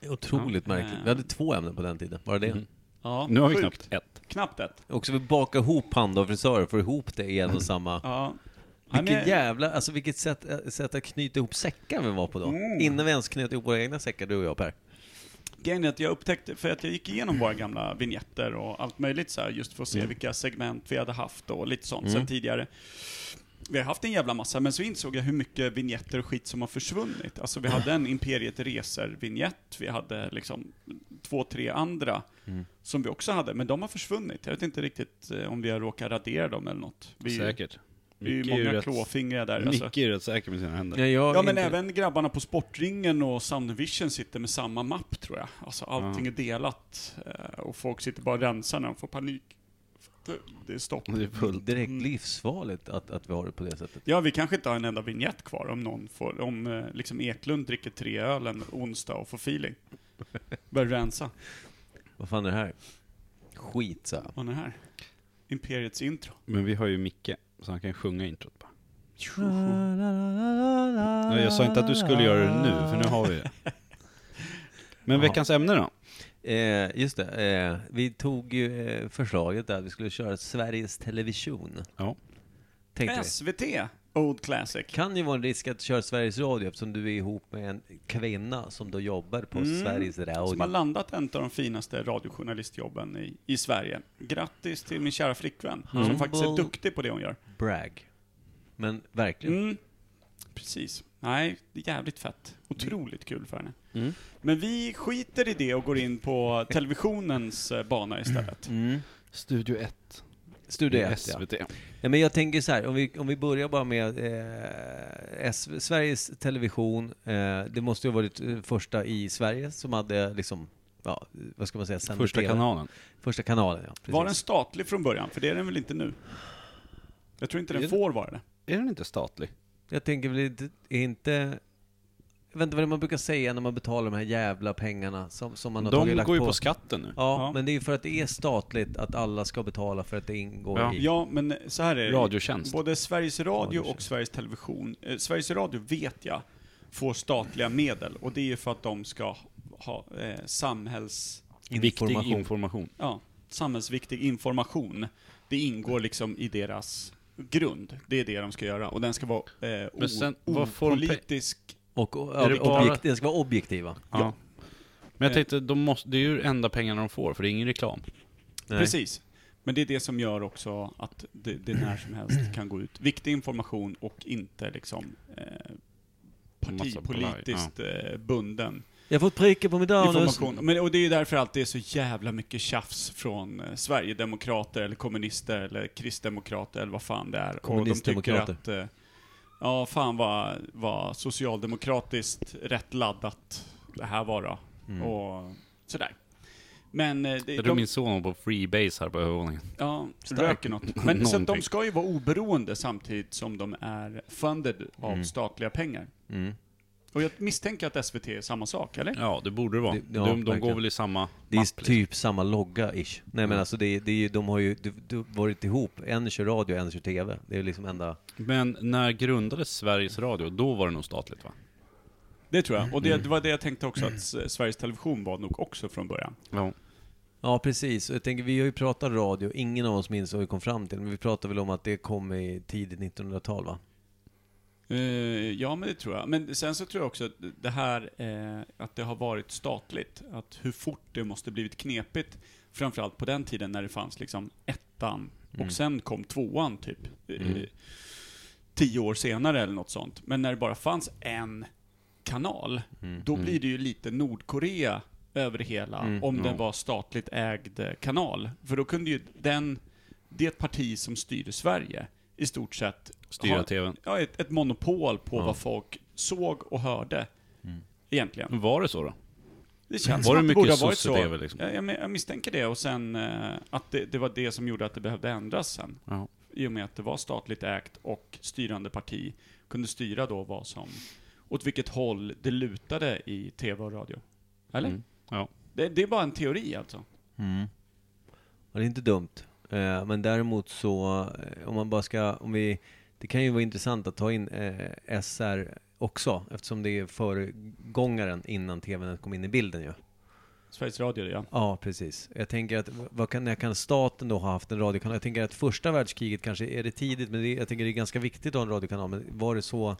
Speaker 1: Det är Mm. Otroligt
Speaker 3: Ja.
Speaker 1: märkligt. Vi hade två ämnen på den tiden. Bara det.
Speaker 3: Ja,
Speaker 2: Nu har vi
Speaker 3: sjukt.
Speaker 2: knappt ett.
Speaker 3: Knappt ett.
Speaker 1: Och så vi bakar ihop panda och frisörer, får ihop det i en och samma...
Speaker 3: Ja. Ja,
Speaker 1: Vilket
Speaker 3: men-
Speaker 1: jävla, alltså vilket sätt, äh, sätt att knyta ihop säckar vi var på då.
Speaker 3: Mm.
Speaker 1: Innan vi ens knöt ihop våra egna säckar, du och jag Per.
Speaker 3: Grejen är att jag upptäckte, för att jag gick igenom våra gamla vignetter och allt möjligt så här, just för att se
Speaker 2: Mm.
Speaker 3: vilka segment vi hade haft och lite sånt sen tidigare. Vi har haft en jävla massa, men så insåg jag hur mycket vignetter och skit som har försvunnit. Alltså vi hade en Imperiet Reser-vignett, vi hade liksom två, tre andra
Speaker 2: Mm.
Speaker 3: som vi också hade, men de har försvunnit. Jag vet inte riktigt eh, om vi har råkat radera dem eller något. Vi,
Speaker 2: Säkert.
Speaker 3: Vi är ju
Speaker 2: Micke är ju
Speaker 3: många
Speaker 2: rätt-
Speaker 3: klåfingriga där. Alltså.
Speaker 2: Micke är rätt säker med sina händer.
Speaker 1: jag
Speaker 3: Ja men även grabbarna på Sportringen och Soundvision sitter med samma mapp tror jag. Alltså allting är delat eh, och folk sitter bara och rensar när de får panik. För att Det är stopp.
Speaker 2: Det är fullt.
Speaker 1: Direkt livsfarligt att, att vi har det på det sättet.
Speaker 3: Ja, vi kanske inte har en enda vignett kvar om någon får, om eh, liksom Eklund dricker tre öl en onsdag och får feeling. Börjar rensa.
Speaker 1: Vad fan är det här? Skit sa jag.
Speaker 3: Vad är det här? Imperiets intro.
Speaker 2: Men vi har ju Micke, så han kan sjunga introt bara. Nej, jag sa inte att du skulle göra det nu, för nu har vi det. Men
Speaker 1: Jaha.
Speaker 2: veckans ämne då?
Speaker 1: Eh, just det, eh, vi tog ju eh, förslaget där att vi skulle köra Sveriges Television.
Speaker 2: Ja.
Speaker 1: Tänkte vi.
Speaker 3: SVT, Old Classic.
Speaker 1: Kan ju vara en risk att köra Sveriges Radio eftersom du är ihop med en kvinna som då jobbar på Sveriges
Speaker 3: Som har
Speaker 1: Radio.
Speaker 3: landat en av de finaste radiojournalistjobben i, i Sverige. Grattis till min kära flickvän, som
Speaker 1: Humble-
Speaker 3: faktiskt är duktig på det hon gör.
Speaker 1: Brag. Men verkligen.
Speaker 3: Mm. Precis. Nej, det är jävligt fett. Otroligt kul för henne.
Speaker 2: Mm.
Speaker 3: Men vi skiter i det och går in på televisionens eh, bana istället.
Speaker 1: Mm.
Speaker 2: Studio 1.
Speaker 1: Studio 1 ja.
Speaker 2: SVT.
Speaker 1: Ja, men jag tänker så här, om vi, om vi börjar bara med eh, SV, Sveriges Television. Eh, det måste ju ha varit eh, första i Sverige som hade liksom, ja, vad ska man säga, sänder
Speaker 2: Första
Speaker 1: TV.
Speaker 2: kanalen.
Speaker 1: Första kanalen, ja. Precis.
Speaker 3: Var den statlig från början? För det är den väl inte nu? Jag tror inte
Speaker 2: Är
Speaker 3: den
Speaker 2: den-
Speaker 3: får vara det.
Speaker 2: Är den inte statlig?
Speaker 1: Jag tänker väl inte, är inte... Jag vet inte vad det man brukar säga när man betalar de här jävla pengarna som, som man har tagit
Speaker 2: De
Speaker 1: lagt
Speaker 2: går ju
Speaker 1: på.
Speaker 2: på skatten nu.
Speaker 1: Ja,
Speaker 3: Ja.
Speaker 1: men det är ju för att det är statligt att alla ska betala för att det ingår
Speaker 2: Ja.
Speaker 1: i...
Speaker 3: Ja, men så här är det.
Speaker 2: Radiotjänst.
Speaker 3: Både Sveriges Radio och Sveriges Television. Eh, Sveriges Radio vet jag får statliga medel och det är ju för att de ska ha eh, samhälls...
Speaker 1: Information.
Speaker 2: Viktig information.
Speaker 3: ja, samhällsviktig information. Det ingår liksom i deras grund. Det är det de ska göra. Och den ska vara eh, o-
Speaker 2: Men sen, vad får de pe-
Speaker 3: opolitisk.
Speaker 1: Och, och
Speaker 2: Är det
Speaker 1: objekt,
Speaker 2: bara-
Speaker 1: det ska vara objektiva.
Speaker 2: Ja. Men jag
Speaker 3: Eh.
Speaker 2: tänkte, de måste, det är ju enda pengarna de får, för det är ingen reklam.
Speaker 1: Nej.
Speaker 3: Precis. Men det är det som gör också att det, det när som helst kan gå ut. Viktig information och inte liksom eh, partipolitiskt eh, bunden
Speaker 1: Jag har fått prickar på medaljen.
Speaker 3: information. Men, och det är ju därför allt det är så jävla mycket tjafs från eh, Sverigedemokrater eller kommunister eller kristdemokrater eller vad fan det är. Och de tycker
Speaker 1: Kommunistdemokrater.
Speaker 3: att, eh, ja fan vad, vad socialdemokratiskt rätt laddat det här var då.
Speaker 1: Mm.
Speaker 3: Och sådär. Men eh, det,
Speaker 2: Jag tror min son var på freebase här på övervåningen.
Speaker 3: Ja,
Speaker 1: Stark.
Speaker 3: röker något. Men så att de
Speaker 2: Någonting.
Speaker 3: ska ju vara oberoende samtidigt som de är funded av statliga pengar.
Speaker 1: Mm.
Speaker 3: Och jag misstänker att SVT är samma sak, eller?
Speaker 2: Ja, det borde det vara.
Speaker 1: Det- ja,
Speaker 2: de de går
Speaker 1: verkligen.
Speaker 2: väl i samma
Speaker 1: Det är
Speaker 2: mapp, liksom.
Speaker 1: typ samma logga-ish. Nej men alltså det, är- det är ju, de har ju du, du, varit ihop. En kör radio, en kör TV. Det är liksom enda...
Speaker 2: Men när grundades Sveriges Radio? Då var det nog statligt va?
Speaker 3: Det tror jag. Och det, det var det jag tänkte också, att S- Sveriges Television var nog också från början.
Speaker 2: Ja.
Speaker 1: Ja precis. Och Jag tänker, vi har ju pratat radio. Ingen av oss minns vad vi kom fram till. Men vi pratade väl om att det kom i tidigt 1900-tal va?
Speaker 3: Eh, ja, men det tror jag. Men sen så tror jag också att det här eh, att det har varit statligt, att hur fort det måste blivit knepigt, framförallt på den tiden när det fanns liksom ettan och sen kom tvåan typ. eh, Tio år senare eller något sånt. Men när det bara fanns en kanal,
Speaker 1: Mm.
Speaker 3: då
Speaker 2: Mm.
Speaker 3: blir det ju lite Nordkorea över det hela, om den var statligt ägd eh, kanal. För då kunde ju den, det parti som styrde Sverige, i stort sett
Speaker 2: Styra
Speaker 3: ha-
Speaker 2: TVn.
Speaker 3: ja, ett, ett monopol på vad folk såg och hörde. Egentligen.
Speaker 2: Var det så då?
Speaker 3: Det känns
Speaker 2: Mm. Var det
Speaker 3: som att det
Speaker 2: mycket
Speaker 3: borde ha varit så.
Speaker 2: sosse-tv liksom?
Speaker 3: Jag, jag, men- jag misstänker det och sen eh, att det, det var det som gjorde att det behövde ändras sen.
Speaker 2: Ja.
Speaker 3: i och med att det var statligt ägt och styrande parti, kunde styra då vad som, åt vilket håll det lutade i tv och radio. Eller?
Speaker 2: Mm. Ja.
Speaker 3: Det, det är bara en teori alltså.
Speaker 1: Mm. Ja, det är inte dumt. Eh, men däremot så, eh, om man bara ska, om vi, det kan ju vara intressant att ta in eh, SR också, eftersom det är föregångaren innan tvn kom in i bilden ju.
Speaker 3: Sveriges Radio, ja.
Speaker 1: Ja, precis. Jag tänker att, vad kan, när kan staten då ha haft en radiokanal? Jag tänker att första världskriget kanske, är det tidigt, men det, jag tänker det är ganska viktigt att ha en radiokanal, men var det så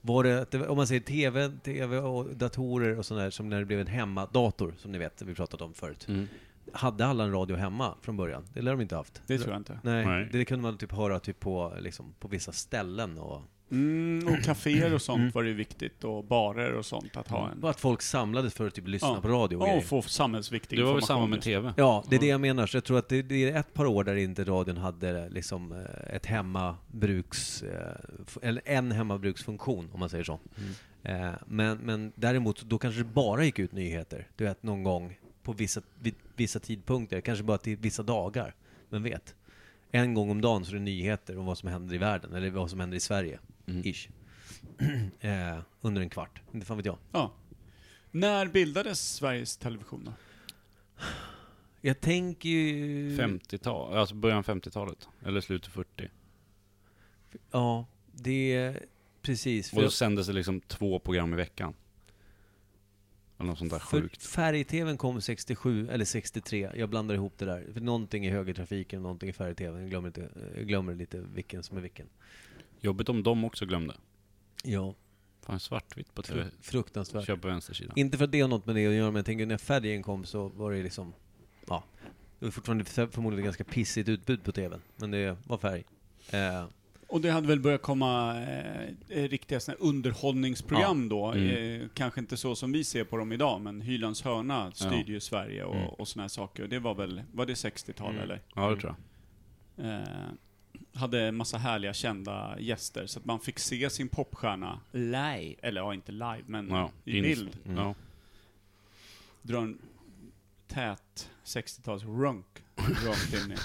Speaker 1: var det, att det- om man säger TV, TV och datorer och sådär, som när det blev en hemmadator, som ni vet, vi pratat om förut. Hade alla en radio hemma från början? Det lär de inte haft.
Speaker 3: Det tror jag inte.
Speaker 1: Nej,
Speaker 2: Nej.
Speaker 1: det kunde man typ höra typ på, liksom, på vissa ställen och
Speaker 3: Mm, och kaféer och sånt var det viktigt, och barer och sånt, att ha en...
Speaker 1: bara att folk samlades för att typ lyssna på radio och
Speaker 3: och,
Speaker 1: grejer.
Speaker 3: och få samhällsviktig
Speaker 2: Det var väl
Speaker 3: information
Speaker 2: samma med
Speaker 3: just.
Speaker 2: TV?
Speaker 1: Ja, det är det jag menar. Så jag tror att det, det är ett par år där inte radion hade liksom eh, ett hemmabruks, eh, f- eller en hemmabruksfunktion om man säger så. Eh, Men, men däremot, då kanske det bara gick ut nyheter, du vet någon gång på vissa, vid vissa tidpunkter, kanske bara till vissa dagar, vem vet? En gång om dagen så är det nyheter om vad som händer i världen, eller vad som händer i Sverige, ish. eh, under en kvart, inte fan vet jag.
Speaker 3: Ja. När bildades Sveriges Television då?
Speaker 1: Jag tänker ju...
Speaker 2: 50-tal, alltså början av 50-talet. Eller slutet 40.
Speaker 1: Ja, det är precis.
Speaker 2: Och
Speaker 1: För,
Speaker 2: då sändes det liksom två program i veckan. Eller något sånt där
Speaker 1: för
Speaker 2: sjukt.
Speaker 1: färg-tvn kom 67, eller 63, jag blandar ihop det där. För någonting är högertrafiken och någonting är färg-tvn. Jag glömmer, inte, jag glömmer lite vilken som är vilken.
Speaker 2: Jobbigt om de också glömde.
Speaker 1: Ja,
Speaker 2: Fan, svartvitt på TV.
Speaker 1: fruktansvärt.
Speaker 2: Kör på vänstersidan.
Speaker 1: Inte för att det har något med det att göra, men jag tänker när färgen kom så var det liksom, ja. Det var fortfarande för- förmodligen ganska pissigt utbud på tvn, men det var färg. Eh,
Speaker 3: Och det hade väl börjat komma eh, eh, riktiga såna här underhållningsprogram då. Eh, kanske inte så som vi ser på dem idag, men Hylands hörna styrde
Speaker 2: Ja.
Speaker 3: ju Sverige och, och såna här saker. Och det var väl, var det 60-tal eller?
Speaker 2: Ja, det tror jag.
Speaker 3: Eh, hade massa härliga kända gäster, så att man fick se sin popstjärna live. Eller ja, inte live, men
Speaker 2: Ja,
Speaker 3: i
Speaker 2: ins-
Speaker 3: bild.
Speaker 1: Mm.
Speaker 2: Ja.
Speaker 3: Dra en tät 60-tals runk rakt in i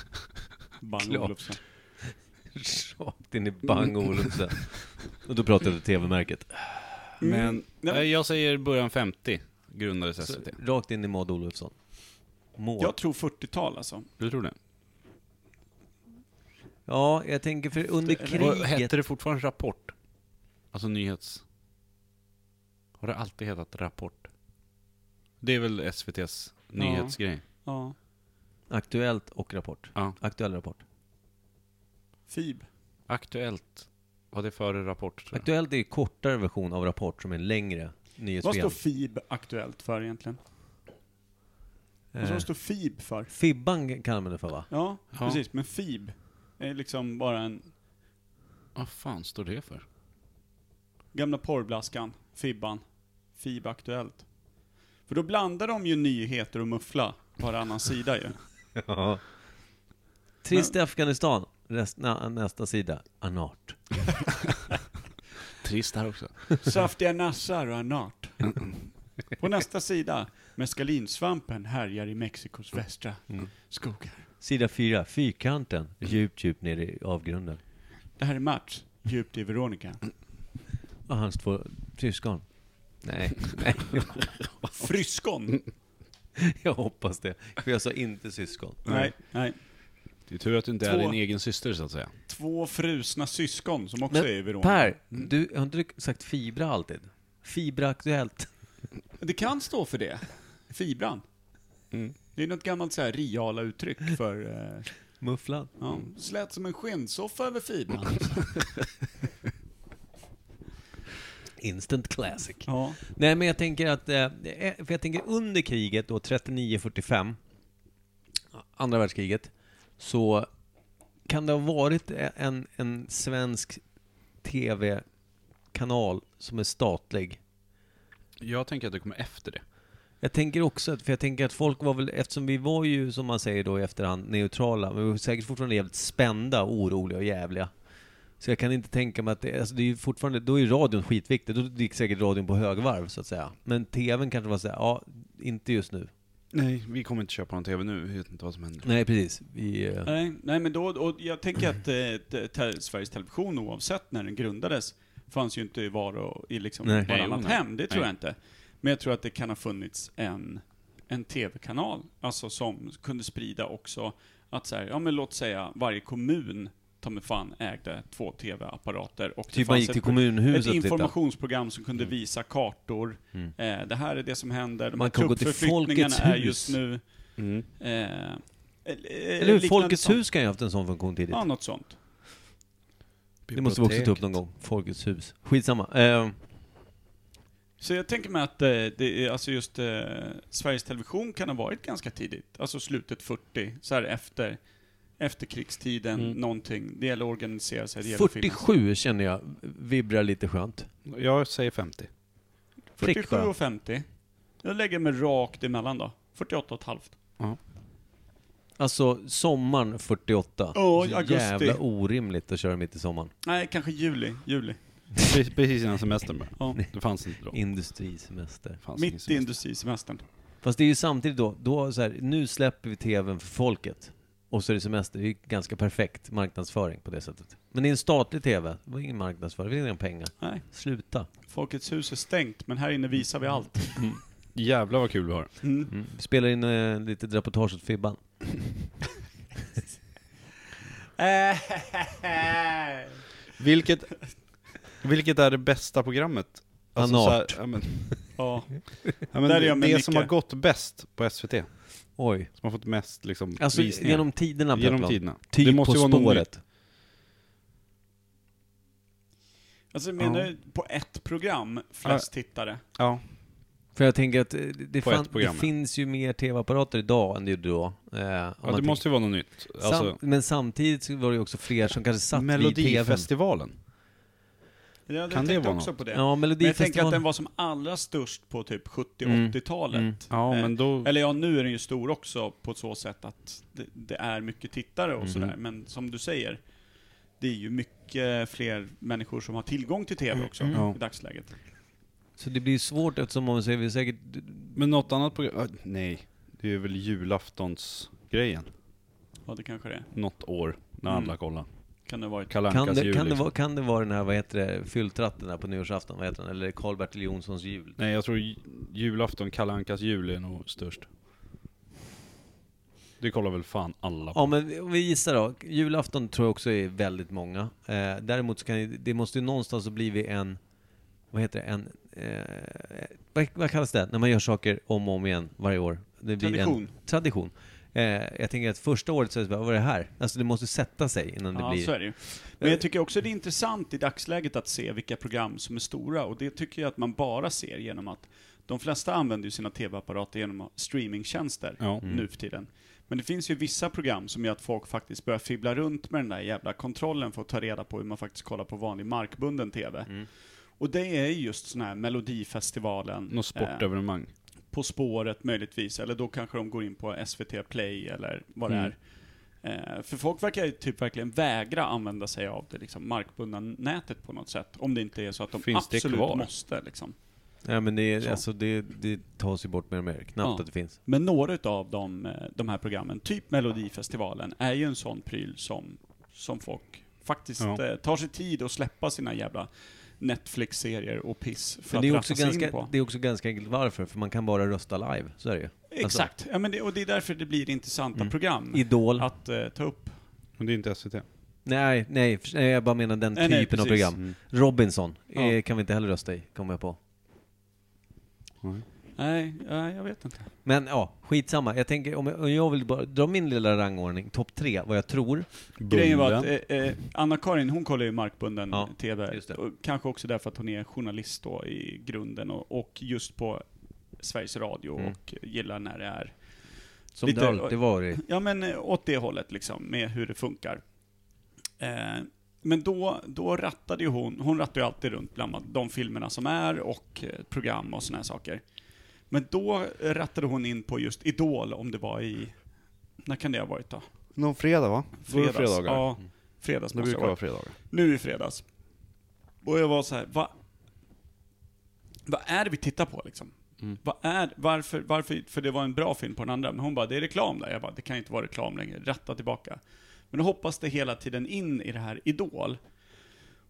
Speaker 3: Bang
Speaker 1: Klart.
Speaker 3: Olufsen.
Speaker 1: Rakt in i Bang Olufsen. Och då pratade jag tv-märket.
Speaker 2: Men,
Speaker 3: Nej,
Speaker 2: nej, jag säger början 50 grundades
Speaker 1: Så,
Speaker 2: SVT.
Speaker 1: Alltså, rakt in i Maud Olofsson. Maud.
Speaker 3: Jag tror 40-tal alltså.
Speaker 2: Du tror det?
Speaker 1: Ja, jag tänker för under
Speaker 2: Vad-
Speaker 1: kriget...
Speaker 2: Hette det fortfarande Rapport? Alltså nyhets... Har det alltid hetat Rapport? Det är väl SVT's nyhetsgrej?
Speaker 3: Ja.
Speaker 1: Aktuellt och Rapport.
Speaker 2: Ja.
Speaker 1: Aktuell Rapport.
Speaker 3: Fib.
Speaker 2: Aktuellt var det före Rapport tror jag.
Speaker 1: Aktuellt är ju kortare version av Rapport som är en längre
Speaker 3: Vad
Speaker 1: nyhetsprogram.
Speaker 3: står FIB aktuellt för egentligen? Alltså,
Speaker 1: Eh,
Speaker 3: vad står FIB för?
Speaker 1: Fibban kallar man det för va?
Speaker 3: Ja,
Speaker 2: Ja.
Speaker 3: precis. Men FIB är liksom bara en
Speaker 2: Vad fan står det för?
Speaker 3: gamla porrblaskan, Fibban, FIB aktuellt. För då blandar de ju nyheter och muffla varannan sida ju.
Speaker 1: Trist i Afghanistan. Rest, nä, nästa sida. Anart.
Speaker 2: Trist här också.
Speaker 3: Saftiga nassar och anart. På nästa sida, mescalinsvampen härjar i Mexikos västra
Speaker 1: Mm.
Speaker 3: skogar.
Speaker 1: Sida fyra. Fyrkanten. Djupt, djupt ner i avgrunden.
Speaker 3: Det här är Mats, djupt i Veronica.
Speaker 1: Och hans två syskon. Nej, nej.
Speaker 3: Fryskon!
Speaker 1: Jag hoppas det. För jag sa inte syskon.
Speaker 3: Nej, nej.
Speaker 2: Det är tur att du inte är
Speaker 3: Två.
Speaker 2: din egen syster så att säga.
Speaker 3: Två frusna syskon som också är i
Speaker 1: Men
Speaker 3: Veronica.
Speaker 1: Per, du, har inte du sagt fibra alltid? Fibra aktuellt.
Speaker 3: Det kan stå för det. Fibran.
Speaker 2: Mm.
Speaker 3: Det är något gammalt så här riala uttryck för... Eh,
Speaker 1: Mufflan.
Speaker 3: ja, slät som en skinnsoffa över fibran.
Speaker 1: Instant classic.
Speaker 3: ja.
Speaker 1: Nej men jag tänker att, eh, för jag tänker under kriget då, 39-45, andra världskriget, så kan det ha varit e- en, en svensk TV-kanal som är statlig?
Speaker 2: Jag tänker att det kommer efter det.
Speaker 1: Jag tänker också, att- för jag tänker att folk var väl, eftersom vi var ju som man säger då i efterhand neutrala, men vi var säkert fortfarande jävligt spända, oroliga och jävliga. Så jag kan inte tänka mig att det, alltså det är ju fortfarande, då är ju radion skitviktig, då gick säkert radion på högvarv så att säga. Men TVn kanske var såhär, ja, inte just nu.
Speaker 2: Nej, vi kommer inte köpa någon TV nu. Vi vet inte vad som händer.
Speaker 1: Nej, precis. Vi, eh,
Speaker 3: Nej, nej, men då, och jag tänker att eh, te, te, Sveriges Television, oavsett när den grundades, fanns ju inte i var och i liksom
Speaker 1: Nej.
Speaker 2: Nej,
Speaker 3: varannat
Speaker 2: jo, nej.
Speaker 3: hem. Det tror
Speaker 2: Nej.
Speaker 3: jag inte. Men jag tror att det kan ha funnits en, en TV-kanal, alltså som kunde sprida också att så här, ja men låt säga varje kommun ta mig fan ägde två TV-apparater och det
Speaker 1: typ man
Speaker 3: fanns
Speaker 1: gick
Speaker 3: ett
Speaker 1: till
Speaker 3: pro-
Speaker 1: kommunhuset
Speaker 3: ett
Speaker 1: och tittade.
Speaker 3: informationsprogram som kunde visa kartor.
Speaker 1: Mm.
Speaker 3: Eh, det här är det som händer. De
Speaker 1: Man
Speaker 3: här
Speaker 1: kan gå till
Speaker 3: truppförflyttningarna
Speaker 1: Folkets
Speaker 3: är
Speaker 1: hus.
Speaker 3: just nu.
Speaker 2: Mm.
Speaker 3: Eh, Eller
Speaker 1: Eller hur? Folkets hus kan ju ha haft en sån funktion tidigt.
Speaker 3: Ja, något sånt.
Speaker 1: det måste vi också ta upp någon gång. Folkets hus. Skitsamma. Eh,
Speaker 3: Så jag tänker mig att eh, det är, alltså just eh, Sveriges Television kan ha varit ganska tidigt. Alltså slutet 40, så här efter efterkrigstiden,
Speaker 2: Mm.
Speaker 3: någonting. Det gäller att organisera sig, det gäller att finnas.
Speaker 1: 47 känner jag vibrar lite skönt.
Speaker 2: Jag säger 50.
Speaker 1: Prick
Speaker 3: 47
Speaker 1: bara.
Speaker 3: och 50. Jag lägger mig rakt emellan då. 48 och ett halvt.
Speaker 1: Alltså sommaren 48.
Speaker 3: Ja, i
Speaker 1: Så
Speaker 3: augusti.
Speaker 1: Jävla orimligt att köra mitt i sommaren.
Speaker 3: Nej, kanske juli. juli.
Speaker 2: Precis- Precis innan semestern bara.
Speaker 3: Ja.
Speaker 2: Det fanns inte då.
Speaker 1: Industrisemester.
Speaker 2: Fanns ingen
Speaker 3: Mitt i
Speaker 2: semester.
Speaker 3: industrisemestern.
Speaker 1: Fast det är ju samtidigt då, då så här, nu släpper vi tvn för folket. Och så är det semester. Det är ju ganska perfekt marknadsföring på det sättet. Men det är en statlig tv. Det var ingen marknadsföring, det var inga pengar.
Speaker 3: Nej,
Speaker 1: Sluta.
Speaker 3: Folkets hus är stängt, men här inne visar vi allt.
Speaker 2: Jävlar vad kul vi har.
Speaker 3: Mm.
Speaker 1: Mm. Vi Spelar in eh, lite reportage åt Fibban.
Speaker 2: Vilket, vilket är det bästa programmet? Alltså
Speaker 1: Anart.
Speaker 2: så här, ja, men,
Speaker 3: Ja.
Speaker 2: ja, men
Speaker 3: Där är
Speaker 2: det
Speaker 3: jag med
Speaker 2: det
Speaker 3: Micke.
Speaker 2: som har gått bäst på SVT. Som
Speaker 1: Oj.
Speaker 2: har fått mest liksom,
Speaker 1: Alltså
Speaker 2: visningar.
Speaker 1: genom tiderna
Speaker 2: genom
Speaker 1: Pepplan.
Speaker 2: tiderna.
Speaker 1: Typ På
Speaker 2: någon ny-
Speaker 1: spåret.
Speaker 3: Alltså jag menar du på ett program flest tittare?
Speaker 2: Ja.
Speaker 1: För jag tänker att eh, det,
Speaker 2: På
Speaker 1: fan,
Speaker 2: ett
Speaker 1: det
Speaker 2: program, ja.
Speaker 1: finns ju mer tv-apparater idag än det gjorde då. Eh, om
Speaker 2: ja,
Speaker 1: man
Speaker 2: det måste ju vara något nytt.
Speaker 1: tänker-
Speaker 2: Alltså,
Speaker 1: Sam, men samtidigt så var det ju också fler som kanske satt vid tvn.
Speaker 2: Melodifestivalen.
Speaker 3: Jag hade
Speaker 2: Kan det
Speaker 3: tänkt
Speaker 2: vara
Speaker 3: också
Speaker 2: något?
Speaker 3: på det.
Speaker 1: Ja,
Speaker 3: Men jag tänker att den
Speaker 1: Melodifestivalen.
Speaker 3: var som allra störst på typ
Speaker 1: Mm.
Speaker 3: 70-80-talet.
Speaker 1: Mm.
Speaker 2: Ja, men då...
Speaker 3: Eller ja, nu är den ju stor också på så sätt att det, det är mycket tittare och
Speaker 1: Mhm.
Speaker 3: sådär. Men som du säger, det är ju mycket fler människor som har tillgång till TV också
Speaker 2: Mm. Ja.
Speaker 3: i dagsläget.
Speaker 1: Så det blir ju svårt eftersom man säger vi säkert...
Speaker 2: Men något annat program? ah, Nej, det är väl julaftonsgrejen.
Speaker 3: Ja, det kanske det är.
Speaker 2: Något år när
Speaker 3: Mm.
Speaker 2: alla kollar.
Speaker 3: kan det ha varit.
Speaker 2: Kalle
Speaker 1: Kan
Speaker 2: Ankas
Speaker 1: det,
Speaker 2: jul.
Speaker 1: kan, det
Speaker 2: liksom.
Speaker 1: vara, kan det vara den här, vad heter det, fylltratten här på nyårsafton, vad heter den? Eller Karl-Bertil Jonssons jul?
Speaker 2: Nej, jag tror ju- julafton, Kalle Ankas jul är nog störst. Det kollar väl fan alla på.
Speaker 1: Ja men vi- om vi gissar då, julafton tror jag också är väldigt många. Eh, däremot så kan ju- det måste ju någonstans ha blivit en, vad heter det, en, eh, vad, vad kallas det? När man gör saker om och om igen varje år. Det blir
Speaker 3: Tradition.
Speaker 1: En tradition. Eh, jag tänker att första året så är det bara, vad är det här? Alltså det måste sätta sig innan det
Speaker 3: Ja,
Speaker 1: blir... Eh,
Speaker 3: så är det ju. Men jag tycker också det är intressant i dagsläget att se vilka program som är stora, och det tycker jag att man bara ser genom att de flesta använder ju sina TV-apparater genom streamingtjänster
Speaker 2: Ja.
Speaker 1: Mm.
Speaker 3: nu för tiden. Men det finns ju vissa program som gör att folk faktiskt börjar fibbla runt med den där jävla kontrollen för att ta reda på hur man faktiskt kollar på vanlig markbunden TV.
Speaker 1: Mm.
Speaker 3: Och det är ju just sådana här Melodifestivalen,
Speaker 2: Något
Speaker 3: eh,
Speaker 2: sportevenemang.
Speaker 3: På spåret möjligtvis, eller då kanske de går in på SVT Play eller vad
Speaker 2: Mm.
Speaker 3: det är. Eh, för folk verkar ju typ verkligen vägra använda sig av det liksom, markbundna nätet på något sätt. Om det inte är så att de
Speaker 2: Finns det
Speaker 3: absolut
Speaker 2: kvar?
Speaker 3: måste. Liksom.
Speaker 1: Ja, men det, är,
Speaker 3: Så.
Speaker 1: alltså, det, det tas ju bort mer och mer, knappt
Speaker 3: Ja.
Speaker 1: att det finns.
Speaker 3: Men några av de, eh, de här programmen, typ Melodifestivalen, är ju en sån pryl som, som folk faktiskt
Speaker 2: Ja.
Speaker 3: eh, tar sig tid att släppa sina jävla Netflix-serier och piss för
Speaker 1: Men det är,
Speaker 3: att
Speaker 1: också
Speaker 3: raffa sig in
Speaker 1: ganska,
Speaker 3: på.
Speaker 1: det är också ganska enkelt varför, för man kan bara rösta live, så är det ju.
Speaker 3: Exakt, ja, men det, och det är därför det blir intressanta
Speaker 1: alltså. Mm.
Speaker 3: program
Speaker 1: Idol.
Speaker 3: att eh, ta upp.
Speaker 2: Men det är inte SVT.
Speaker 1: Nej, nej, för- nej, jag bara menar den
Speaker 3: Nej, nej,
Speaker 1: typen av
Speaker 3: precis.
Speaker 1: program.
Speaker 2: Mm.
Speaker 1: Robinson
Speaker 3: Ja.
Speaker 1: eh, kan vi inte heller rösta i, kommer jag på.
Speaker 3: Nej, nej, jag vet inte.
Speaker 1: Men ja, skitsamma. Jag tänker, om jag, om jag vill bara dra min lilla rangordning, topp tre, vad jag tror.
Speaker 3: Grejen var
Speaker 2: Bullen.
Speaker 3: att eh, eh, Anna-Karin, hon kollar ju markbunden
Speaker 1: Ja,
Speaker 3: TV.
Speaker 1: just det.
Speaker 3: Och kanske också därför att hon är journalist då i grunden och, och just på Sveriges Radio
Speaker 1: Mm.
Speaker 3: och gillar när det är,
Speaker 1: Som
Speaker 3: Lite-
Speaker 1: det alltid varit.
Speaker 3: ja men eh, åt det hållet liksom, med hur det funkar. Eh, men då, då rattade ju hon, hon rattar ju alltid runt bland de filmerna som är och eh, program och sådana här saker. Men då rattade hon in på just Idol om det var i, när kan det ha varit då?
Speaker 2: eh, Någon fredag va? Då är det fredagar. Mm.
Speaker 3: Ja, fredags
Speaker 2: Det
Speaker 3: måste
Speaker 2: brukar
Speaker 3: ha varit.
Speaker 2: vara fredagar.
Speaker 3: nu i fredags. Och jag var så här, va, vad är det vi tittar på liksom?
Speaker 2: Mm.
Speaker 3: Vad är, varför, varför, för det var en bra film på den andra, men hon bara, det är reklam där. Jag bara, det kan ju inte vara reklam längre, ratta tillbaka. Men då hoppas det hela tiden in i det här Idol.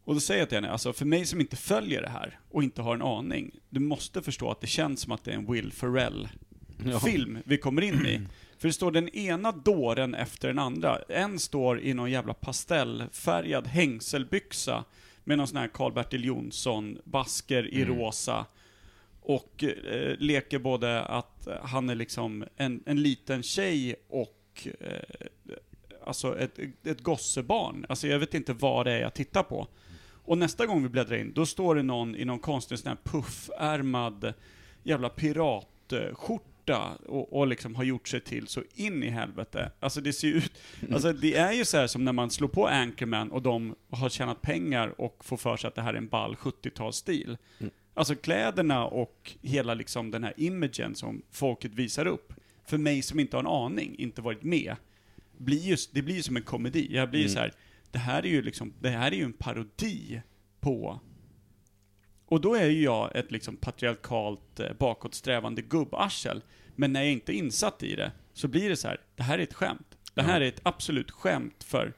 Speaker 3: Och då säger jag till henne, alltså för mig som inte följer det här och inte har en aning, du måste förstå att det känns som att det är en Will Ferrell-film vi kommer in i. För det står den ena dåren efter den andra. En står i någon jävla pastellfärgad hängselbyxa med någon sån här Karl-Bertil Jonsson, basker i rosa. Och eh, leker både att han är liksom en, en liten tjej och eh, alltså ett, ett gossebarn. Alltså jag vet inte vad det är jag tittar på. Och nästa gång vi bläddrar in, då står det någon i någon konstig sån här puffärmad jävla piratskjorta och, och liksom har gjort sig till så in i helvete. Alltså det ser ju ut, alltså det är ju så här som när man slår på Anchorman och de har tjänat pengar och får för sig att det här är en ball 70-talsstil. Alltså kläderna och hela liksom den här imagen som folket visar upp, för mig som inte har en aning, inte varit med, blir just, det blir ju som en komedi. Jag blir ju så här, det här är ju liksom, det här är ju en parodi på... Och då är ju jag ett liksom patriarkalt, eh, bakåtsträvande gubbarsel. Men när jag inte är insatt i det, så blir det så här, det här är ett skämt. Det här är ett absolut skämt för,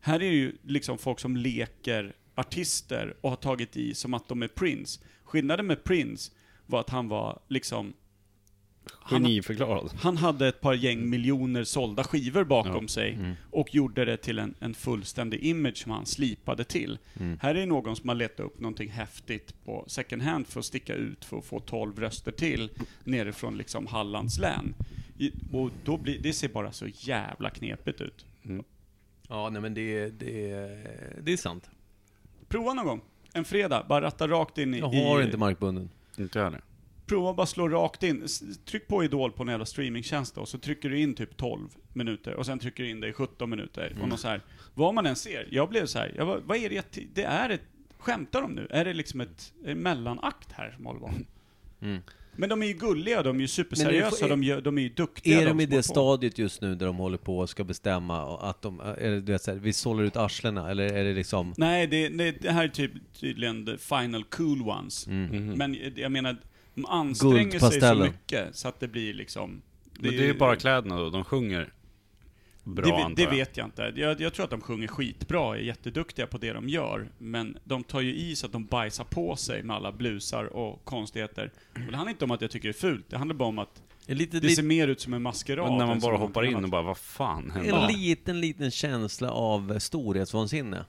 Speaker 3: här är det ju liksom folk som leker artister och har tagit i som att de är Prince. Skillnaden med Prince var att han var liksom, Han-
Speaker 2: Geniförklarad.
Speaker 3: han hade ett par gäng miljoner sålda skivor bakom
Speaker 2: Ja.
Speaker 3: sig
Speaker 1: Mm.
Speaker 3: och gjorde det till en, en fullständig image som han slipade till.
Speaker 1: Mm.
Speaker 3: Här är någon som har letat upp någonting häftigt på second hand för att sticka ut för att få 12 röster till nerifrån liksom Hallands län. I, och då blir, det ser bara så jävla knepigt ut.
Speaker 1: Ja, nej men det, det, det är sant.
Speaker 3: Prova någon gång. En fredag, bara ratta rakt in i...
Speaker 1: Jag har
Speaker 3: i,
Speaker 1: inte markbunden.
Speaker 2: Inte jag heller.
Speaker 3: Prova bara slå rakt in. S- Tryck på Idol på en jävla streamingtjänst då, så trycker du in typ 12 minuter och sen trycker du in det i 17 minuter.
Speaker 1: Mm.
Speaker 3: Och någon så här, vad man än ser. Jag blev så här, jag bara, vad är det jag ti- Det är ett... Skämtar de nu? Är det liksom ett, en mellanakt här som håller på?
Speaker 1: Mm.
Speaker 2: Mm.
Speaker 3: Men de är ju gulliga, de är ju superseriösa,
Speaker 1: Men är-
Speaker 3: de, gör, de är ju duktiga.
Speaker 1: Är de i
Speaker 3: som är
Speaker 1: det
Speaker 3: på.
Speaker 1: stadiet just nu där de håller på och ska bestämma och att de, är det, du vet, så här, vi sållar ut arslena eller är det liksom,
Speaker 3: Nej, det, det, det här är typ, tydligen the final cool ones.
Speaker 1: Mm.
Speaker 2: Mm.
Speaker 3: Men jag menar, de anstränger sig så
Speaker 1: Guldpastellen.
Speaker 3: mycket så att det blir liksom...
Speaker 2: Men det är ju bara kläderna då, de sjunger bra
Speaker 3: det, ve-
Speaker 2: antar
Speaker 3: det
Speaker 2: jag.
Speaker 3: vet jag inte. Jag, jag tror att de sjunger skitbra, är jätteduktiga på det de gör. Men de tar ju i så att de bajsar på sig med alla blusar och konstigheter. Och det handlar inte om att jag tycker det är fult, det handlar bara om att
Speaker 1: en liten,
Speaker 3: det ser mer ut som en maskerad.
Speaker 2: Men när man
Speaker 3: än som
Speaker 2: bara
Speaker 3: något
Speaker 2: hoppar in
Speaker 3: annat.
Speaker 2: och bara, vad fan hände?
Speaker 1: en liten, liten känsla av storhetsvansinne?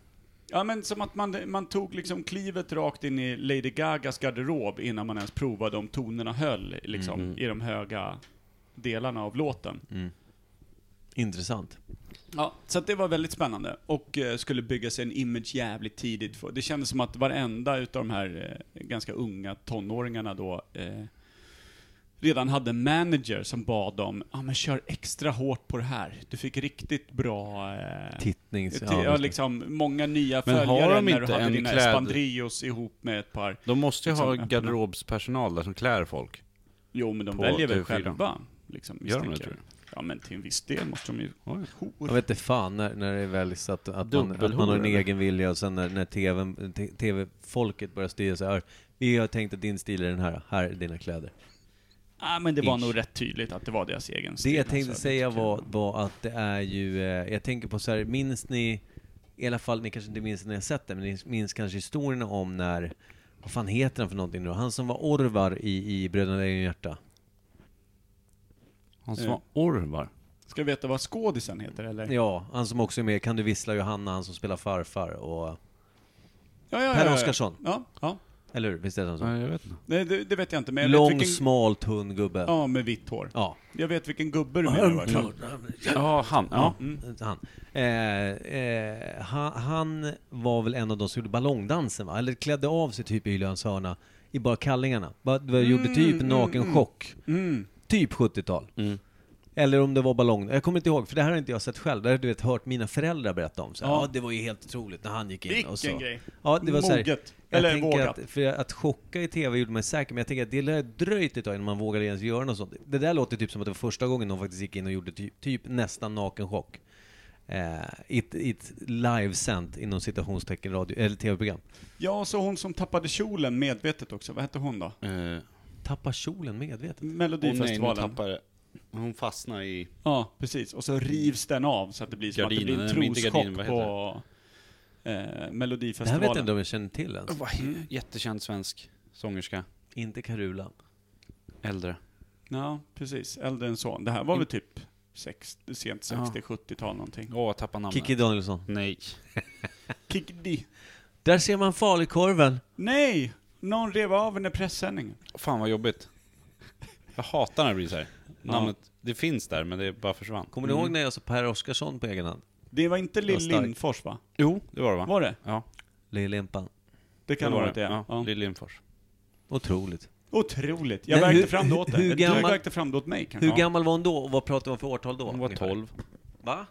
Speaker 3: Ja men som att man, man tog liksom klivet rakt in i Lady Gagas garderob innan man ens provade om tonerna höll liksom,
Speaker 2: Mm-hmm.
Speaker 3: i de höga delarna av låten.
Speaker 1: Intressant.
Speaker 3: Ja, så att det var väldigt spännande och eh, skulle bygga sig en image jävligt tidigt. För- Det kändes som att varenda utav de här eh, ganska unga tonåringarna då eh, redan hade en manager som bad dem, ja ah, men kör extra hårt på det här. Du fick riktigt bra... Eh,
Speaker 1: Tittnings...
Speaker 3: ti- ja,
Speaker 1: just det.
Speaker 3: liksom många nya
Speaker 2: Men har
Speaker 3: följare
Speaker 2: de
Speaker 3: när du
Speaker 2: inte
Speaker 3: hade
Speaker 2: en
Speaker 3: dina
Speaker 2: kläd-
Speaker 3: Espandrios ihop med ett par.
Speaker 2: De måste ju ha
Speaker 3: Liksom, öppna.
Speaker 2: garderobspersonal där som klär folk.
Speaker 3: Jo, men de
Speaker 2: På
Speaker 3: väljer väl
Speaker 2: TV4.
Speaker 3: själva. Liksom,
Speaker 2: Gör de det,
Speaker 3: misstänker jag.
Speaker 2: tror du?
Speaker 3: Ja, men till en viss del måste de ju...
Speaker 1: Jag vet inte fan när, när det väljs att, att, man, att man
Speaker 2: Dubbelhora,
Speaker 1: har en
Speaker 2: eller?
Speaker 1: egen vilja och sen när, när TV-folket TV -folket börjar styra så här. Vi har tänkt att din stil är den här, här är dina kläder.
Speaker 3: Ja, men det var
Speaker 1: Ish.
Speaker 3: nog rätt tydligt att det var deras egen
Speaker 1: Det
Speaker 3: stil,
Speaker 1: jag tänkte
Speaker 3: alltså.
Speaker 1: säga var, var att det är ju, eh, jag tänker på så här, minns ni, i alla fall, ni kanske inte minns när jag sett det, men ni minns kanske historierna om när, vad fan heter han för någonting nu Han som var Orvar i, i Bröderna Lejonhjärta.
Speaker 2: Han som
Speaker 3: Eh.
Speaker 2: var Orvar.
Speaker 3: Ska vi veta vad skådisen heter eller?
Speaker 1: Ja, han som också är med i Kan du vissla Johanna, han som spelar farfar och,
Speaker 3: ja, ja,
Speaker 1: Per
Speaker 3: ja.
Speaker 1: Oscarsson.
Speaker 3: Ja, ja.
Speaker 1: eller hur? Visst är han så?
Speaker 2: Nej, jag vet inte.
Speaker 3: Nej, det, det vet jag inte, men jag
Speaker 1: Lång,
Speaker 3: vet vilken...
Speaker 1: smal, tunn gubbe.
Speaker 3: Ja, med vitt hår.
Speaker 1: ja.
Speaker 3: Jag vet vilken gubbe du menar i varje
Speaker 1: Mm.
Speaker 3: fall.
Speaker 2: Ja, han. Ja.
Speaker 1: Han. Eh, eh, han, han var väl en av de som gjorde ballongdansen va? Eller klädde av sig typ i Hyllans hörna i bara kallingarna. Bara, mm, gjorde typ naken chock.
Speaker 3: Mm.
Speaker 1: Typ 70-tal. Eller om det var ballong. Jag kommer inte ihåg, för det här har inte jag sett själv. Det har jag, du vet, hört mina föräldrar berätta om. Så här, ja.
Speaker 3: Ja.
Speaker 1: det var ju helt otroligt när han gick in.
Speaker 3: Vilken
Speaker 1: och så.
Speaker 3: grej.
Speaker 1: alltså. Ja, det var så här,
Speaker 3: Moget.
Speaker 1: jag
Speaker 3: Eller
Speaker 1: tänker
Speaker 3: vågat.
Speaker 1: Att, för att chocka i TV gjorde mig säker, men jag tänker att det lär dröjt ett tag innan man vågade ens göra något sånt. Det där låter typ som att det var första gången någon faktiskt gick in och gjorde typ, typ nästan naken chock. Eh, I ett- i ett livesänt, inom citationstecken, radio, eller TV-program.
Speaker 3: Ja, och så hon som tappade kjolen medvetet också. Vad hette hon då?
Speaker 2: Eh,
Speaker 1: tappar kjolen medvetet.
Speaker 2: Åh nej, nu
Speaker 3: Melodifestivalen.
Speaker 2: tappar det. Hon fastnar i...
Speaker 3: ja, precis. Och så rivs den av så att det blir som
Speaker 2: Gardinen,
Speaker 3: att
Speaker 2: men
Speaker 3: det blir en
Speaker 2: inte
Speaker 3: troschock
Speaker 2: gardinen, vad heter
Speaker 3: på eh,
Speaker 1: Det här
Speaker 3: Melodifestivalen.
Speaker 1: vet jag inte om jag känner till ens.
Speaker 2: Mm. Jättekänd svensk sångerska.
Speaker 1: Inte Karula.
Speaker 2: Äldre.
Speaker 3: Ja, precis. Äldre än så. Det här var väl typ 60, sent 60, 70-tal någonting.
Speaker 2: Åh, jag tappar namnet.
Speaker 1: Kikki Danielsson.
Speaker 2: Nej.
Speaker 3: Kikdi.
Speaker 1: Där ser man falukorven.
Speaker 3: Nej! Någon rev av henne pressändningen.
Speaker 2: Fan vad jobbigt. Jag hatar när det blir så här. Namnet, det finns där men det bara försvann.
Speaker 1: Kommer
Speaker 3: Mm.
Speaker 1: ni ihåg när jag såg Per Oscarsson på egen hand?
Speaker 3: Det var inte Lill
Speaker 1: Vad starkt.
Speaker 3: Lindfors va?
Speaker 2: Jo, det var det va?
Speaker 3: Var det?
Speaker 2: Ja,
Speaker 1: Lill-Limpan.
Speaker 3: Det kan
Speaker 2: det
Speaker 3: ha
Speaker 2: var
Speaker 3: varit
Speaker 2: det.
Speaker 3: det.
Speaker 2: Ja,
Speaker 3: Ja.
Speaker 2: Lill Lindfors.
Speaker 1: Otroligt.
Speaker 3: Otroligt. Jag
Speaker 1: Men
Speaker 3: värkte
Speaker 1: hur-
Speaker 3: fram det åt
Speaker 1: hur
Speaker 3: dig. Du
Speaker 1: gammal-
Speaker 3: värkte fram det åt mig kanske.
Speaker 1: Hur
Speaker 3: Ja.
Speaker 1: gammal var hon då och vad pratade man för årtal då?
Speaker 2: Hon var
Speaker 1: ungefär?
Speaker 2: 12.
Speaker 1: Va?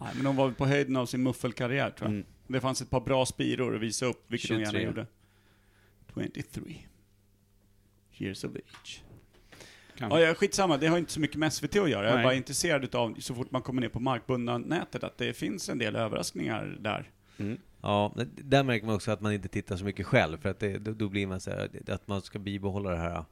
Speaker 3: Nej, men hon var på höjden av sin muffelkarriär tror jag.
Speaker 2: Mm.
Speaker 3: Det fanns ett par bra spiror att visa upp, vilket hon gärna
Speaker 2: 23.
Speaker 3: gjorde. 23. Years of age.
Speaker 2: Kanske.
Speaker 3: Ja, ja, skitsamma. Det har inte så mycket med SVT att göra. Jag är
Speaker 2: Nej.
Speaker 3: bara intresserad utav, så fort man kommer ner på markbundna nätet, att det finns en del överraskningar där.
Speaker 2: Mm.
Speaker 1: Ja, men där märker man också att man inte tittar så mycket själv, för att det, då, då blir man så här, att man ska bibehålla det här,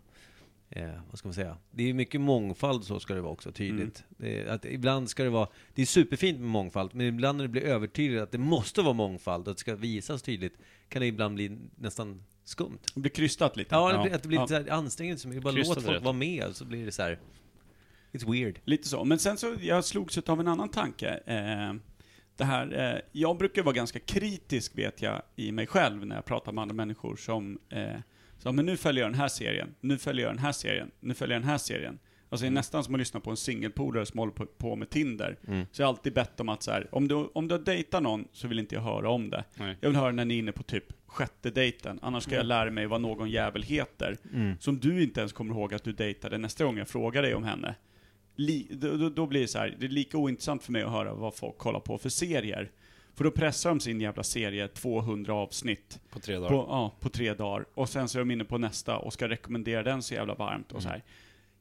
Speaker 1: eh, vad ska man säga? Det är mycket mångfald så ska det vara också,
Speaker 3: Mm.
Speaker 1: tydligt. Det, att ibland ska det vara, det är superfint med mångfald, men ibland när det blir övertydligt att det måste vara mångfald och att det ska visas tydligt, kan det ibland bli nästan skumt.
Speaker 3: Det blir krystat lite.
Speaker 1: Ja, det
Speaker 2: Ja.
Speaker 1: blir, att det blir
Speaker 3: Ja.
Speaker 1: lite så här ansträngande, så mycket. bara
Speaker 2: Kryssat
Speaker 1: låt folk
Speaker 2: rätt.
Speaker 1: vara med, så blir det så här, it's weird.
Speaker 3: Lite så. Men sen så, jag slogs av en annan tanke. Eh, det här, eh, jag brukar vara ganska kritisk vet jag i mig själv när jag pratar med andra människor som, eh, så, men nu följer jag den här serien, nu följer jag den här serien, nu följer jag den här serien. Alltså det är nästan som att lyssna på en singelpolare som håller på, på med Tinder. Så jag har alltid bett om att så här, om du, om du har dejtat någon så vill inte jag höra om det.
Speaker 2: Nej.
Speaker 3: Jag vill höra när ni är inne på typ sjätte dejten, annars ska jag lära mig vad någon jävel heter. Som du inte ens kommer ihåg att du dejtade nästa gång jag frågar dig om henne li, då, då- då blir det så här, det är lika ointressant för mig att höra vad folk kollar på för serier. För då pressar de sin jävla serie 200 avsnitt
Speaker 2: På tre dagar.
Speaker 3: på, ja, på tre dagar. Och sen så är de inne på nästa och ska rekommendera den så jävla varmt och så här.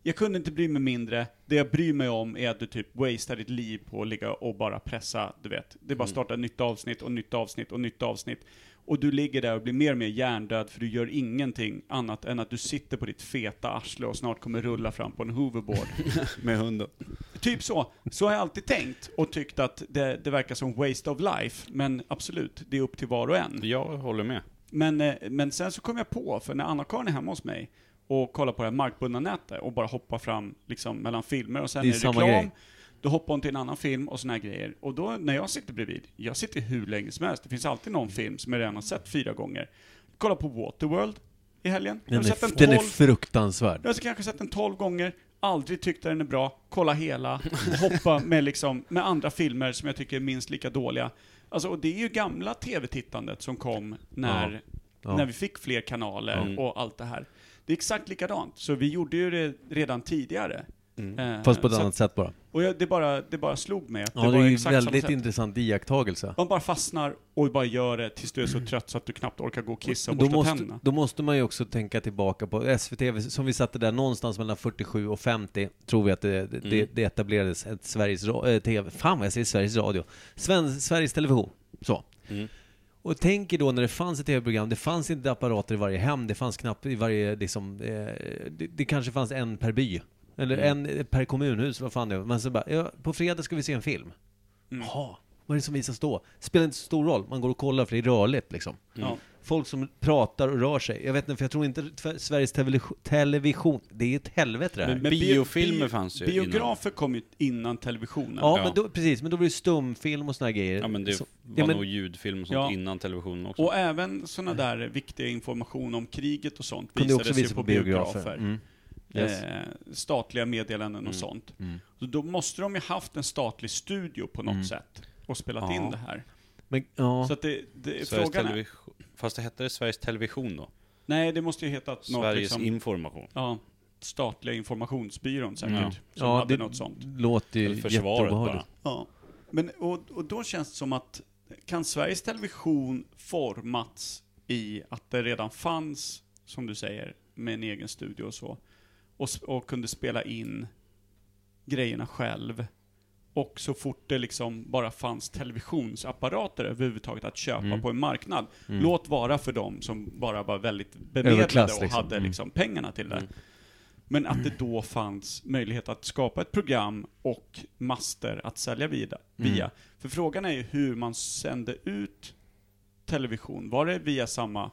Speaker 3: Jag kunde inte bry mig mindre. Det jag bryr mig om är att du typ wastear ditt liv på att ligga och bara pressa, du vet. Det är bara att starta ett nytt avsnitt och nytt avsnitt och nytt avsnitt. Och du ligger där och blir mer och mer hjärndöd för du gör ingenting annat än att du sitter på ditt feta arsle och snart kommer rulla fram på en hoverboard.
Speaker 2: Med hund
Speaker 3: Typ så. Så har jag alltid tänkt och tyckt att det, det verkar som waste of life. Men absolut, det är upp till var och en.
Speaker 2: Jag håller med.
Speaker 3: Men, eh, men sen så kom jag på, för när Anna-Karin är hemma hos mig och kollar på det här markbundna nätet och bara hoppar fram liksom, mellan filmer och sen
Speaker 1: Det
Speaker 3: är
Speaker 1: är
Speaker 3: det
Speaker 1: samma
Speaker 3: reklam.
Speaker 1: grej.
Speaker 3: Då hoppar hon till en annan film och såna här grejer. Och då när jag sitter bredvid, jag sitter hur länge som helst, det finns alltid någon film som jag redan har sett fyra gånger. Kolla på Waterworld i helgen. Jag
Speaker 1: Den
Speaker 3: har sett
Speaker 1: är,
Speaker 3: den
Speaker 1: den är
Speaker 3: 12
Speaker 1: fruktansvärd.
Speaker 3: jag har kanske sett den 12 gånger, aldrig tyckt att den är bra, kolla hela, hoppa med, liksom, med andra filmer som jag tycker är minst lika dåliga. Alltså, och det är ju gamla tv-tittandet som kom när,
Speaker 1: Ja.
Speaker 3: när vi fick fler kanaler
Speaker 2: Mm.
Speaker 3: och allt det här. Det är exakt likadant, så vi gjorde ju det redan tidigare.
Speaker 2: Mm.
Speaker 3: Eh,
Speaker 1: Fast på ett
Speaker 3: så-
Speaker 1: annat sätt bara.
Speaker 3: Och jag, det, bara, det bara slog mig att
Speaker 1: Ja,
Speaker 3: det,
Speaker 1: det
Speaker 3: var
Speaker 1: är ju
Speaker 3: exakt
Speaker 1: väldigt
Speaker 3: samma sätt.
Speaker 1: intressant iakttagelse.
Speaker 3: Man bara fastnar och bara gör det tills du är så trött så att du knappt orkar gå och kissa och
Speaker 1: Då
Speaker 3: borsta
Speaker 1: måste,
Speaker 3: tänderna.
Speaker 1: då måste man ju också tänka tillbaka på SVT, som vi satte där någonstans mellan 47 och 50, tror vi att det,
Speaker 3: Mm.
Speaker 1: det, det etablerades ett Sveriges ra- eh, TV, fan vad jag säger Sveriges Radio, Sven, Sveriges Television, så.
Speaker 3: Mm.
Speaker 1: Och tänk er då när det fanns ett tv-program, det fanns inte apparater i varje hem, det fanns knappt i varje, liksom, eh, det, det kanske fanns en per by. Eller
Speaker 3: Mm.
Speaker 1: en eh, per kommunhus, vad fan det är. Man så bara, ja, på fredag ska vi se en film.
Speaker 3: Mm.
Speaker 1: Jaha, vad är det som visas då? Spelar inte så stor roll, man går och kollar för det är rörligt liksom.
Speaker 2: Mm.
Speaker 3: Ja.
Speaker 1: Folk som pratar och rör sig. Jag vet inte, för jag tror inte tve- Sveriges television, television det är ett helvete det här.
Speaker 2: Men biofilmer fanns ju innan.
Speaker 3: Biografer kom ju innan televisionen.
Speaker 1: ja,
Speaker 2: ja.
Speaker 1: men då, precis, men då blir det stumfilm och såna här grejer.
Speaker 2: Ja men det
Speaker 1: Så-
Speaker 2: var
Speaker 1: ja, men,
Speaker 2: nog ljudfilm och sånt
Speaker 3: Ja.
Speaker 2: innan televisionen också.
Speaker 3: Och även sådana där viktiga information om kriget och sånt
Speaker 1: kunde
Speaker 3: visades
Speaker 1: också
Speaker 3: ju
Speaker 1: visa på biografer. Mm. Yes. Mm.
Speaker 3: Eh, statliga meddelanden
Speaker 2: Mm.
Speaker 3: och sånt. Så då måste de ju haft en statlig studio på något sätt och spelat
Speaker 2: Mm. Ja.
Speaker 3: in det här.
Speaker 1: Men, ja.
Speaker 3: Så att det, det,
Speaker 2: Sveriges
Speaker 3: eh, frågan är,
Speaker 2: television. Fast det hette det Sveriges Television då?
Speaker 3: Nej, det måste ju heta något
Speaker 2: Sveriges
Speaker 3: liksom,
Speaker 2: Information.
Speaker 3: ja, statliga informationsbyrån säkert,
Speaker 2: Ja.
Speaker 3: som
Speaker 1: ja,
Speaker 3: hade något sånt.
Speaker 1: låter ju
Speaker 2: Eller försvaret bara.
Speaker 1: jätteobehagligt.
Speaker 3: Ja. Men, och, och då känns det som att, kan Sveriges Television formats i att det redan fanns, som du säger, med en egen studio och så, och, s- och kunde spela in grejerna själv Och så fort det liksom bara fanns televisionsapparater överhuvudtaget att köpa
Speaker 1: Mm.
Speaker 3: på en marknad. Låt vara för dem som bara var väldigt bemedlade
Speaker 1: Överklass,
Speaker 3: och
Speaker 1: liksom. Mm.
Speaker 3: hade liksom pengarna till det. Men att det då fanns möjlighet att skapa ett program och master att sälja vida,
Speaker 1: Mm.
Speaker 3: via. För frågan är ju hur man sände ut television. Var det via samma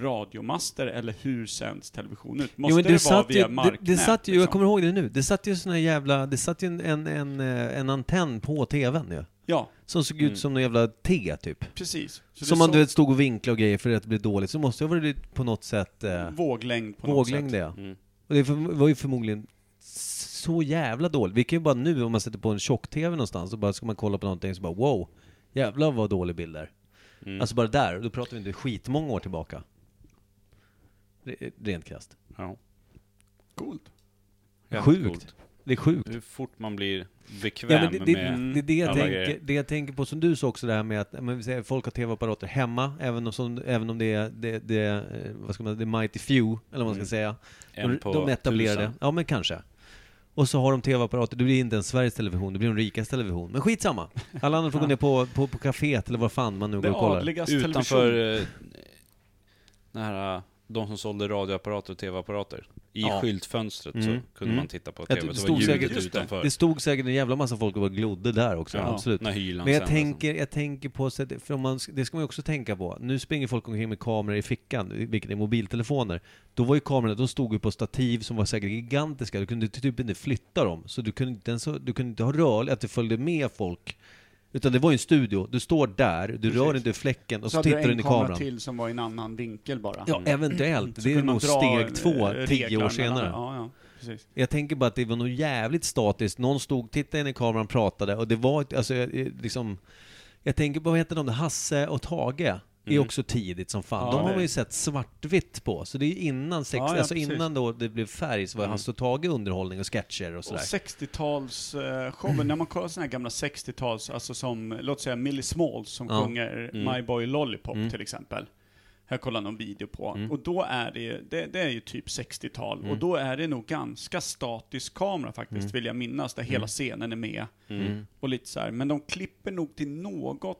Speaker 3: radiomaster eller hur sänds television ut? Måste
Speaker 1: jo, men
Speaker 3: det, vara
Speaker 1: satt
Speaker 3: via
Speaker 1: ju, det,
Speaker 3: marknät?
Speaker 1: det satt ju, jag
Speaker 3: liksom?
Speaker 1: kommer ihåg det nu, det satt ju sån här jävla, det satt ju en, en, en, eh, en antenn på tvn ju.
Speaker 3: Ja,
Speaker 1: Som såg ut som någon jävla T typ.
Speaker 3: precis. Mm. Så
Speaker 1: som
Speaker 3: det
Speaker 1: man
Speaker 3: såg
Speaker 1: du vet stod och vinklade och grejer för att det blev dåligt. Så måste det ha varit på något sätt eh,
Speaker 3: våglängd på något
Speaker 1: våglängd
Speaker 3: sätt.
Speaker 1: ja.
Speaker 2: Mm.
Speaker 1: Och det för- var ju förmodligen så jävla dåligt. Vi kan ju bara nu om man sätter på en tjock-tv någonstans och bara ska man kolla på någonting så bara wow, jävlar vad dålig bild där. Alltså bara där, och då pratar vi inte skitmånga år tillbaka. Re- Rent krasst.
Speaker 2: Ja.
Speaker 3: Coolt.
Speaker 2: Helt
Speaker 1: Sjukt.
Speaker 2: coolt.
Speaker 1: Det är sjukt.
Speaker 2: Hur fort man blir bekväm
Speaker 1: Ja, men det, det, mm,
Speaker 2: med...
Speaker 1: det är det jag,
Speaker 2: alla
Speaker 1: tänker,
Speaker 2: grejer.
Speaker 1: det jag tänker på som du sa också det här med att ja, men vi säger, folk har tv-apparater hemma, även om, som, även om det är det, det, eh, vad ska man, det är mighty few, eller vad man ska säga.
Speaker 2: En
Speaker 1: De,
Speaker 2: på
Speaker 1: de etablerade,
Speaker 2: tusen.
Speaker 1: ja men kanske. Och så har de tv-apparater, det blir inte ens Sveriges Television, det blir de rikas television. Men skitsamma! Alla andra får gå ner på, på, på kaféet eller vad fan man nu går
Speaker 3: Det
Speaker 1: och kollar.
Speaker 3: adligas
Speaker 2: Utanför
Speaker 3: television.
Speaker 2: eh, den här, eh, de som sålde radioapparater och tv-apparater. I
Speaker 1: Ja.
Speaker 2: skyltfönstret
Speaker 1: Mm.
Speaker 2: så kunde
Speaker 1: Mm.
Speaker 2: man titta på
Speaker 1: Jag
Speaker 2: tv.
Speaker 1: tror-
Speaker 2: Så
Speaker 1: stod
Speaker 2: var ljudet
Speaker 1: säkert-
Speaker 3: just det.
Speaker 2: utanför.
Speaker 1: Det stod säkert en jävla massa folk och bara glodde där också,
Speaker 2: Ja,
Speaker 1: absolut.
Speaker 2: När hylan
Speaker 1: Men jag
Speaker 2: sändes.
Speaker 1: tänker, jag tänker på, så att- för om man, sk- det ska man ju också tänka på, nu springer folk omkring med kameror i fickan, vilket är mobiltelefoner. Då var ju kamerorna, de stod ju på stativ som var säkert gigantiska, du kunde typ inte flytta dem. Så du kunde inte, ens, ha- du kunde inte ha rörligt, att det följde med folk. Utan det var ju en studio, du står där, du rör inte fläcken och så,
Speaker 5: Så hade
Speaker 1: tittar
Speaker 5: du
Speaker 1: du
Speaker 5: en
Speaker 1: in i
Speaker 5: kamera
Speaker 1: kameran.
Speaker 5: till som var i en annan vinkel bara.
Speaker 1: Ja, eventuellt.
Speaker 3: Mm. Så
Speaker 1: Det är
Speaker 3: kunde man
Speaker 1: nog
Speaker 3: dra,
Speaker 1: steg
Speaker 3: eh,
Speaker 1: två, tio
Speaker 3: reglar
Speaker 1: år
Speaker 3: mellan-
Speaker 1: senare.
Speaker 3: Ja, ja, precis.
Speaker 1: Jag tänker bara att det var nog jävligt statiskt. Någon stod, tittade in i kameran, pratade och det var ett- alltså, jag- jag- liksom... Jag tänker på, vad heter de där, Hasse och Tage? är också tidigt som fan.
Speaker 3: Mm. Ja,
Speaker 1: de har
Speaker 3: det-
Speaker 1: man ju sett svartvitt på. Så det är ju innan sex,
Speaker 3: Ja, ja,
Speaker 1: alltså
Speaker 3: precis. Mm.
Speaker 1: innan då det blev färg så var Hasse och Tage underhållning och sketcher och
Speaker 3: Och
Speaker 1: sådär.
Speaker 3: 60-talsshowen, när man kollar sådana här gamla 60-tals, alltså som, låt säga Millie Smalls som
Speaker 1: Ja. Mm.
Speaker 3: sjunger My Boy Lollipop till exempel. Här kollar någon video på.
Speaker 1: Mm.
Speaker 3: Och då är det, det, det är ju typ 60-tal. Och då är det nog ganska statisk kamera faktiskt,
Speaker 1: Mm.
Speaker 3: vill jag minnas, där hela scenen är med.
Speaker 2: Mm.
Speaker 3: Och lite så här. Men de klipper nog till något,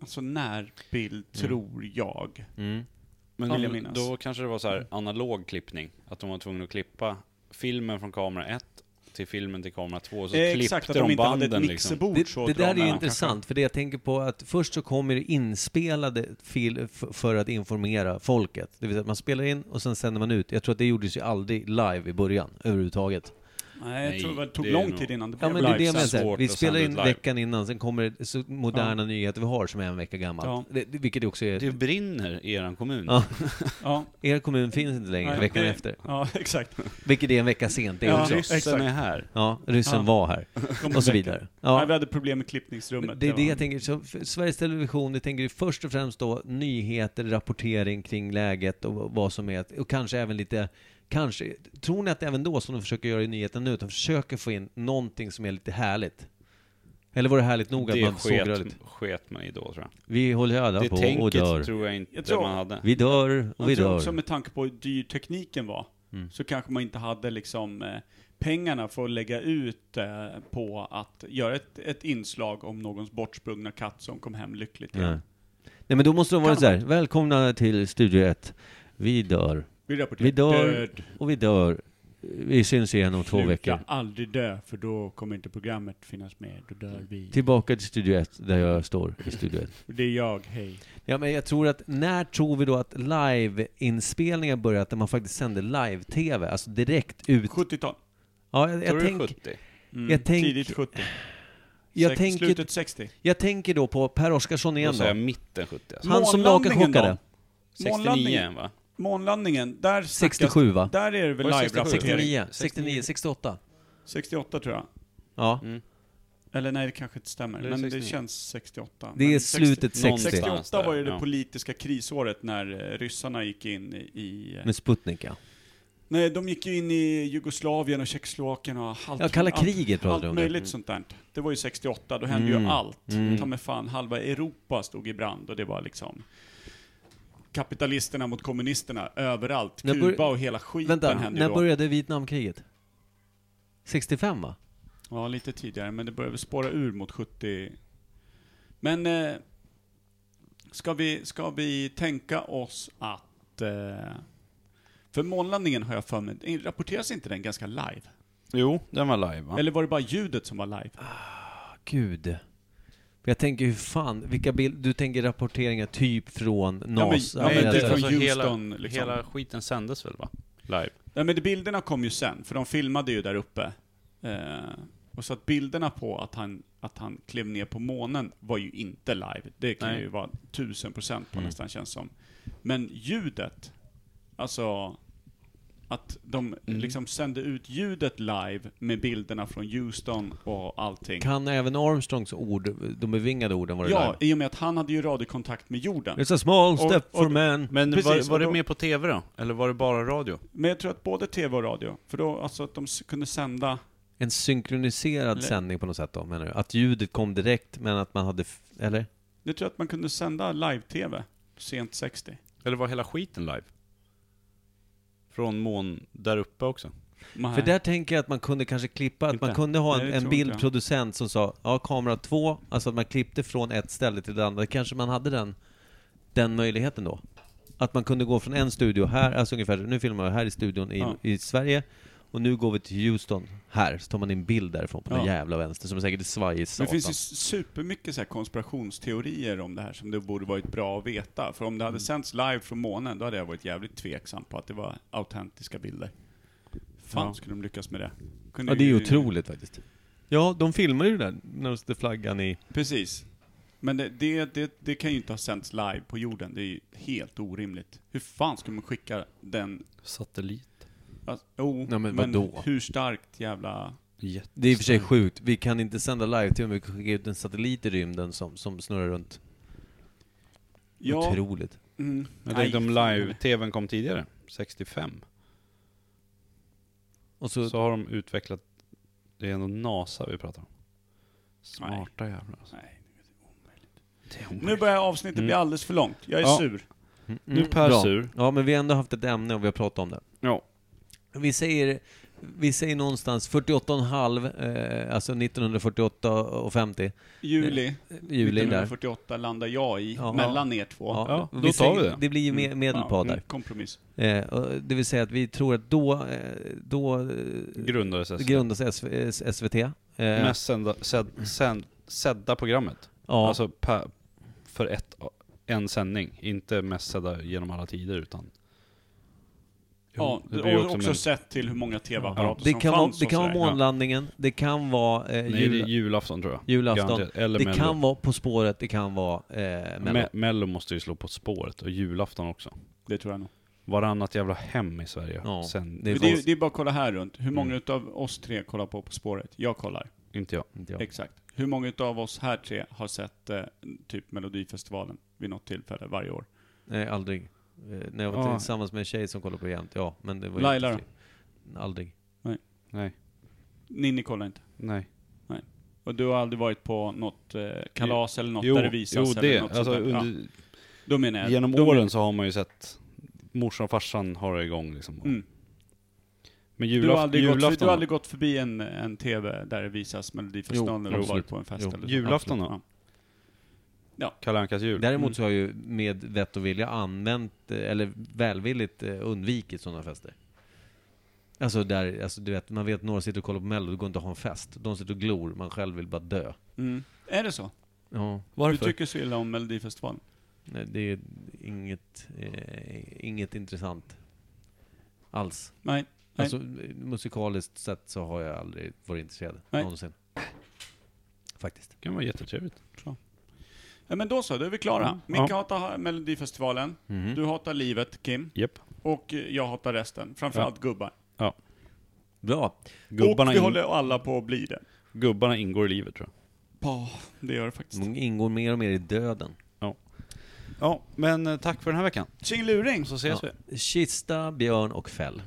Speaker 3: alltså närbild,
Speaker 1: Mm.
Speaker 3: tror jag.
Speaker 2: Men
Speaker 3: vill jag
Speaker 2: om-
Speaker 3: minnas.
Speaker 2: då kanske det var så här analog klippning. Att de var tvungna att klippa filmen från kamera 1 till filmen till kamera 2. Så
Speaker 3: Eh,
Speaker 2: klippte
Speaker 3: Exakt, att de inte hade
Speaker 2: banden
Speaker 3: ett
Speaker 2: liksom.
Speaker 3: mixerbord
Speaker 1: Det,
Speaker 3: så
Speaker 1: det
Speaker 3: att dra
Speaker 1: där är ju
Speaker 3: mellan,
Speaker 1: intressant,
Speaker 3: kanske.
Speaker 1: för det jag tänker på att först så kommer det inspelade fil f- för att informera folket. Det vill säga att man spelar in och sen sänder man ut. Jag tror att det gjordes ju aldrig live i början överhuvudtaget.
Speaker 3: Nej, jag
Speaker 2: Nej,
Speaker 3: tror det var- det tog
Speaker 2: det är
Speaker 3: lång
Speaker 2: nog-
Speaker 3: tid innan det
Speaker 1: Ja
Speaker 3: blev
Speaker 1: men det är det jag
Speaker 3: livesänd.
Speaker 1: menar,
Speaker 2: sen.
Speaker 1: såhär, vi
Speaker 2: Svårt att
Speaker 1: spelar
Speaker 2: sända
Speaker 1: in
Speaker 2: live.
Speaker 1: veckan innan, sen kommer det så moderna nyheter vi har som är en vecka gammalt.
Speaker 3: Ja.
Speaker 1: Det, det- vilket det också är,
Speaker 2: Det brinner i eran kommun.
Speaker 1: Ja.
Speaker 3: Ja,
Speaker 1: er kommun finns inte längre
Speaker 3: Nej,
Speaker 1: veckan
Speaker 3: det-
Speaker 1: efter.
Speaker 3: Ja, exakt.
Speaker 1: Vilket är en vecka sent det
Speaker 3: Ja,
Speaker 1: också.
Speaker 2: Ryssen
Speaker 3: exakt.
Speaker 2: är här.
Speaker 1: Ja, ryssen
Speaker 3: Ja.
Speaker 1: var här.
Speaker 3: De
Speaker 1: Och så
Speaker 3: väcker.
Speaker 1: vidare.
Speaker 3: Nej, vi
Speaker 1: Ja.
Speaker 3: hade problem med klippningsrummet.
Speaker 1: men Det är det
Speaker 3: var-
Speaker 1: jag tänker, så för Sveriges Television, det tänker ju först och främst då nyheter, rapportering kring läget och vad som är, och kanske även lite, kanske, tror ni att även då som de försöker göra i nyheten nu, att de försöker få in någonting som är lite härligt? Eller var det härligt nog att
Speaker 2: Det
Speaker 1: man såg
Speaker 2: sket,
Speaker 1: rörligt?
Speaker 2: sket man i då tror jag.
Speaker 1: Vi håller öda
Speaker 2: Det
Speaker 1: på och
Speaker 2: tänket
Speaker 1: dör.
Speaker 2: tror jag inte
Speaker 3: Jag tror-
Speaker 2: man hade.
Speaker 1: Vi dör och vi
Speaker 3: Jag tror
Speaker 1: dör.
Speaker 3: också med tanke på hur dyr tekniken var,
Speaker 2: Mm.
Speaker 3: så kanske man inte hade liksom eh, pengarna för att lägga ut eh, på att göra ett, ett inslag om någons bortsprungna katt som kom hem lyckligt.
Speaker 1: Nej.
Speaker 3: igen.
Speaker 1: Nej men då måste det vara
Speaker 3: Kan
Speaker 1: så här. välkomna till Studio 1. Vi dör,
Speaker 3: Vi
Speaker 1: vi
Speaker 3: rapporterar
Speaker 1: dör
Speaker 3: död.
Speaker 1: och vi dör. Vi syns igen om två
Speaker 3: Sluta
Speaker 1: veckor.
Speaker 3: aldrig dö, för då kommer inte programmet finnas med. Då dör vi.
Speaker 1: Tillbaka till Studio 1, där jag står i Studio 1.
Speaker 3: Det är jag, hej.
Speaker 1: Ja men jag tror att, när tror vi då att liveinspelningar börjat, där man faktiskt sänder live-tv? Alltså direkt ut.
Speaker 3: 70-tal.
Speaker 1: Ja, jag,
Speaker 2: Tror
Speaker 1: jag,
Speaker 2: du
Speaker 1: tänk,
Speaker 2: 70?
Speaker 3: Mm,
Speaker 1: Jag tänk-
Speaker 3: tidigt 70.
Speaker 1: jag,
Speaker 3: Sex-
Speaker 1: tänker,
Speaker 3: Slutet 60.
Speaker 1: jag tänker då på Per Oskarsson
Speaker 2: Då
Speaker 1: igen
Speaker 2: säger jag
Speaker 1: då.
Speaker 2: mitten 70 alltså.
Speaker 1: Han som
Speaker 3: Månlandningen
Speaker 1: nakenchockade.
Speaker 3: då? Månlandningen.
Speaker 2: 69 va?
Speaker 3: Månlandningen, där snackas-
Speaker 1: 67, va?
Speaker 3: Där är det väl
Speaker 2: Var det 67?
Speaker 1: 69,
Speaker 3: live-rapportering.
Speaker 1: 69, 68.
Speaker 3: 68 tror jag.
Speaker 1: Ja,
Speaker 3: Eller nej, det kanske inte stämmer.
Speaker 2: Eller
Speaker 3: Men
Speaker 2: 69.
Speaker 3: det känns 68.
Speaker 1: det
Speaker 3: Men
Speaker 1: är
Speaker 3: 60
Speaker 1: slutet 60.
Speaker 2: Någonstans.
Speaker 3: 68 var ju det
Speaker 2: Ja.
Speaker 3: politiska krisåret när eh, ryssarna gick in i...
Speaker 1: Med Sputnik ja.
Speaker 3: Nej, de gick ju in i Jugoslavien och Tjeckoslovakien och allt...
Speaker 1: Ja, kalla
Speaker 3: allt-
Speaker 1: kriget pratade
Speaker 3: Allt
Speaker 1: de om.
Speaker 3: möjligt sånt där. Det var ju 68, då hände ju
Speaker 1: Mm.
Speaker 3: allt. Ta mig fan, halva Europa stod i brand och det var liksom... Kapitalisterna mot kommunisterna överallt.
Speaker 1: När bör-
Speaker 3: Kuba och hela skiten
Speaker 1: Vänta,
Speaker 3: hände
Speaker 1: när
Speaker 3: ju då.
Speaker 1: började Vietnamkriget? 65 va?
Speaker 3: Ja, lite tidigare, men det börjar väl spåra ur mot 70. Men eh, ska, vi, ska vi tänka oss att... Eh, för månlandningen har jag för mig, eh, rapporteras inte den ganska live?
Speaker 2: Jo, den var live va?
Speaker 3: Eller var det bara ljudet som var live?
Speaker 1: Gud. Jag tänker hur fan, vilka bild, du tänker rapporteringar typ från NASA?
Speaker 3: ja, men
Speaker 1: eller-
Speaker 3: det är från
Speaker 2: Alltså, hela,
Speaker 3: Houston, liksom.
Speaker 2: hela skiten sändes väl va? Live.
Speaker 3: Nej men de bilderna kom ju sen, för de filmade ju där uppe. Eh, och så att bilderna på att han, att han klev ner på månen var ju inte live. Det kan
Speaker 2: Nej.
Speaker 3: ju vara tusen procent på
Speaker 2: Mm.
Speaker 3: nästan känns som. Men ljudet, alltså att de
Speaker 2: Mm.
Speaker 3: liksom sände ut ljudet live med bilderna från Houston och allting.
Speaker 1: Kan även Armstrongs ord, de bevingade orden vara
Speaker 3: ja,
Speaker 1: där?
Speaker 3: i och med att han hade ju radiokontakt med jorden.
Speaker 1: It's a small
Speaker 3: Och-
Speaker 1: step for
Speaker 3: och-
Speaker 1: man.
Speaker 2: Men
Speaker 3: Precis,
Speaker 2: var, var
Speaker 3: och
Speaker 2: det
Speaker 3: då-
Speaker 2: med på TV då? Eller var det bara radio?
Speaker 3: Men jag tror att både TV och radio, för då alltså att de s- kunde sända
Speaker 1: En synkroniserad
Speaker 3: Le-
Speaker 1: sändning på något sätt då, menar du? Att ljudet kom direkt, men att man hade... f- Eller?
Speaker 3: Jag tror att man kunde sända live-tv sent 60.
Speaker 2: Eller var hela skiten live? Från mån där uppe också?
Speaker 3: Man-
Speaker 1: För där tänker jag att man kunde kanske klippa, att
Speaker 2: Inte.
Speaker 1: man kunde ha
Speaker 3: Nej,
Speaker 1: en,
Speaker 3: det
Speaker 1: en
Speaker 3: tror inte jag.
Speaker 1: bildproducent som sa ja, kamera två, alltså att man klippte från ett ställe till det andra. Kanske man hade den, den möjligheten då. Att man kunde gå från en studio här, alltså ungefär, nu filmar vi här i studion i,
Speaker 3: Ja.
Speaker 1: i Sverige, och nu går vi till Houston här, så tar man en bild därifrån på den
Speaker 3: Ja.
Speaker 1: jävla vänster som säkert är svajig
Speaker 3: Men det finns ju
Speaker 1: satan.
Speaker 3: s- supermycket så här konspirationsteorier om det här som det borde varit bra att veta. För om det
Speaker 1: Mm.
Speaker 3: hade sänts live från månen, då hade jag varit jävligt tveksam på att det var autentiska bilder. Fan
Speaker 2: Ja.
Speaker 3: skulle de lyckas med det. Kunde
Speaker 1: Ja, det är ju otroligt faktiskt. Ja, de filmar ju det där, när de sätter flaggan i...
Speaker 3: Precis. Men det, det, det, det kan ju inte ha sänts live på jorden, det är ju helt orimligt. Hur fan skulle man skicka den...
Speaker 2: Satellit.
Speaker 3: Alltså, oh,
Speaker 1: Ja, men vadå?
Speaker 3: hur starkt jävla...
Speaker 2: Jätte.
Speaker 1: Det är i och för sig sjukt, vi kan inte sända live till men vi kan skicka ut en satellit i rymden som, som snurrar runt.
Speaker 3: Ja,
Speaker 1: Otroligt.
Speaker 3: mm,
Speaker 2: Jag tänkte om
Speaker 3: Nej,
Speaker 2: live-tvn kom tidigare, 65.
Speaker 1: Och så,
Speaker 2: Så har de utvecklat, det är ändå NASA vi pratar om. Smarta jävlar alltså.
Speaker 3: Nej,
Speaker 2: Det är
Speaker 3: Nu
Speaker 2: omöjligt.
Speaker 3: börjar avsnittet
Speaker 2: Mm.
Speaker 3: bli alldeles för långt. Jag är
Speaker 2: Ja.
Speaker 3: sur.
Speaker 1: Mm,
Speaker 2: Nu är
Speaker 1: mm,
Speaker 2: Per
Speaker 1: bra.
Speaker 2: sur.
Speaker 1: Ja, men vi har ändå haft ett ämne och vi har pratat om det.
Speaker 2: Ja.
Speaker 1: Vi säger, vi säger någonstans 48,5, eh, alltså 1948 och 50,
Speaker 3: Juli
Speaker 1: eh, juli där.
Speaker 3: 1948 landar jag i,
Speaker 1: Ja.
Speaker 3: mellan er två.
Speaker 2: Ja, då
Speaker 1: vi
Speaker 2: tar
Speaker 1: säger-
Speaker 2: vi det.
Speaker 1: Det blir ju
Speaker 2: Mm.
Speaker 1: me- medelpad
Speaker 3: Ja, kompromiss.
Speaker 1: där. Eh, och det vill säga att vi tror att då, eh, då eh,
Speaker 2: Grundades SVT.
Speaker 1: grundas SV, eh, SVT. Eh,
Speaker 2: Mest sända, sedd, sänd, sedda programmet.
Speaker 1: ja,
Speaker 2: Alltså per, för ett, en sändning. Inte mest sedda genom alla tider utan...
Speaker 3: Ja,
Speaker 2: det blir ju
Speaker 3: och
Speaker 2: också
Speaker 3: också
Speaker 2: möjligt.
Speaker 3: sett till hur många tv-apparater
Speaker 1: det
Speaker 3: som
Speaker 1: kan, vara,
Speaker 3: fanns
Speaker 1: det
Speaker 3: och
Speaker 1: kan vara
Speaker 3: sådär.
Speaker 1: månlandningen, det kan vara eh,
Speaker 2: Nej, det är
Speaker 1: jul,
Speaker 2: julafton tror jag.
Speaker 1: julafton,
Speaker 2: Garanterat. Eller
Speaker 1: det
Speaker 2: Mello.
Speaker 1: kan vara På spåret, det kan vara eh, Mello.
Speaker 2: Me- Mello måste ju slå på spåret och julafton också.
Speaker 3: Ja, det tror jag nog.
Speaker 2: Varannat jävla hem i Sverige.
Speaker 1: Ja,
Speaker 2: Sen,
Speaker 1: det
Speaker 3: Det
Speaker 1: är
Speaker 3: är,
Speaker 1: konstigt.
Speaker 3: det, är, det är bara att kolla här runt. Hur
Speaker 2: Mm.
Speaker 3: många utav oss tre kollar på På spåret? Jag kollar.
Speaker 2: Inte jag.
Speaker 1: Inte jag.
Speaker 3: Exakt. Hur många utav oss här tre har sett eh, typ Melodifestivalen vid något tillfälle varje år?
Speaker 1: Nej, aldrig. Eh, när jag var
Speaker 2: Ja.
Speaker 1: tillsammans med en tjej som kollade på det jämt, ja. Men det var
Speaker 3: Laila
Speaker 1: ju... då? Aldrig.
Speaker 2: Nej.
Speaker 3: Ninni kollar inte.
Speaker 2: Nej.
Speaker 3: Och du har aldrig varit på något eh, kalas eller något
Speaker 2: jo,
Speaker 3: där det visas?
Speaker 2: jo,
Speaker 3: eller
Speaker 2: det.
Speaker 3: något
Speaker 2: Alltså,
Speaker 3: sånt där.
Speaker 2: under,
Speaker 3: ja, då menar jag.
Speaker 2: Genom
Speaker 3: då
Speaker 2: åren så har man ju sett morsan och farsan har det igång liksom.
Speaker 3: Mm.
Speaker 2: Men
Speaker 3: Du har,
Speaker 2: julaf-
Speaker 3: aldrig gått, för- du
Speaker 2: julafton,
Speaker 3: har aldrig gått förbi en, en TV där det visas Melodifestivalen
Speaker 1: Jo,
Speaker 3: eller
Speaker 1: absolut.
Speaker 3: varit på en fest
Speaker 1: Jo.
Speaker 3: eller så?
Speaker 2: Julafton då?
Speaker 3: Absolut,
Speaker 2: Kalle Ankas jul. Mm.
Speaker 1: Däremot så har jag ju med vett och vilja använt, eh, eller välvilligt eh, undvikit sådana fester. Alltså där, alltså du vet, man vet några sitter och kollar på mello, det går inte att ha en fest. De sitter och glor, man själv vill bara dö.
Speaker 3: ja. Mm. Är det så?
Speaker 1: Ja,
Speaker 3: Du tycker så illa om Melodifestivalen?
Speaker 1: nej, det är inget, eh, inget intressant alls.
Speaker 3: Nej. Nej.
Speaker 1: Alltså eh, musikaliskt sett så har jag aldrig varit intresserad,
Speaker 3: Nej.
Speaker 1: någonsin. Faktiskt.
Speaker 2: Det kan vara jättetrevligt.
Speaker 3: Ja, men då så, då är vi klara.
Speaker 2: Mm.
Speaker 3: Micke
Speaker 2: Ja. Mm.
Speaker 3: hatar Melodifestivalen,
Speaker 1: Mhm.
Speaker 3: du hatar livet, Kim,
Speaker 2: Japp.
Speaker 3: och eh, jag hatar resten. Framförallt gubbar.
Speaker 1: Bra.
Speaker 2: Gubbarna,
Speaker 3: och vi
Speaker 2: in,
Speaker 3: håller alla på att bli det.
Speaker 2: gubbarna ingår i livet tror jag.
Speaker 3: Ja, det gör det
Speaker 2: Mm.
Speaker 3: faktiskt.
Speaker 1: De ingår mer och mer i döden.
Speaker 2: Ja, men eh, tack för den här veckan.
Speaker 3: Tjingeluring!
Speaker 2: Så ses vi.
Speaker 1: Kista, björn och fäll.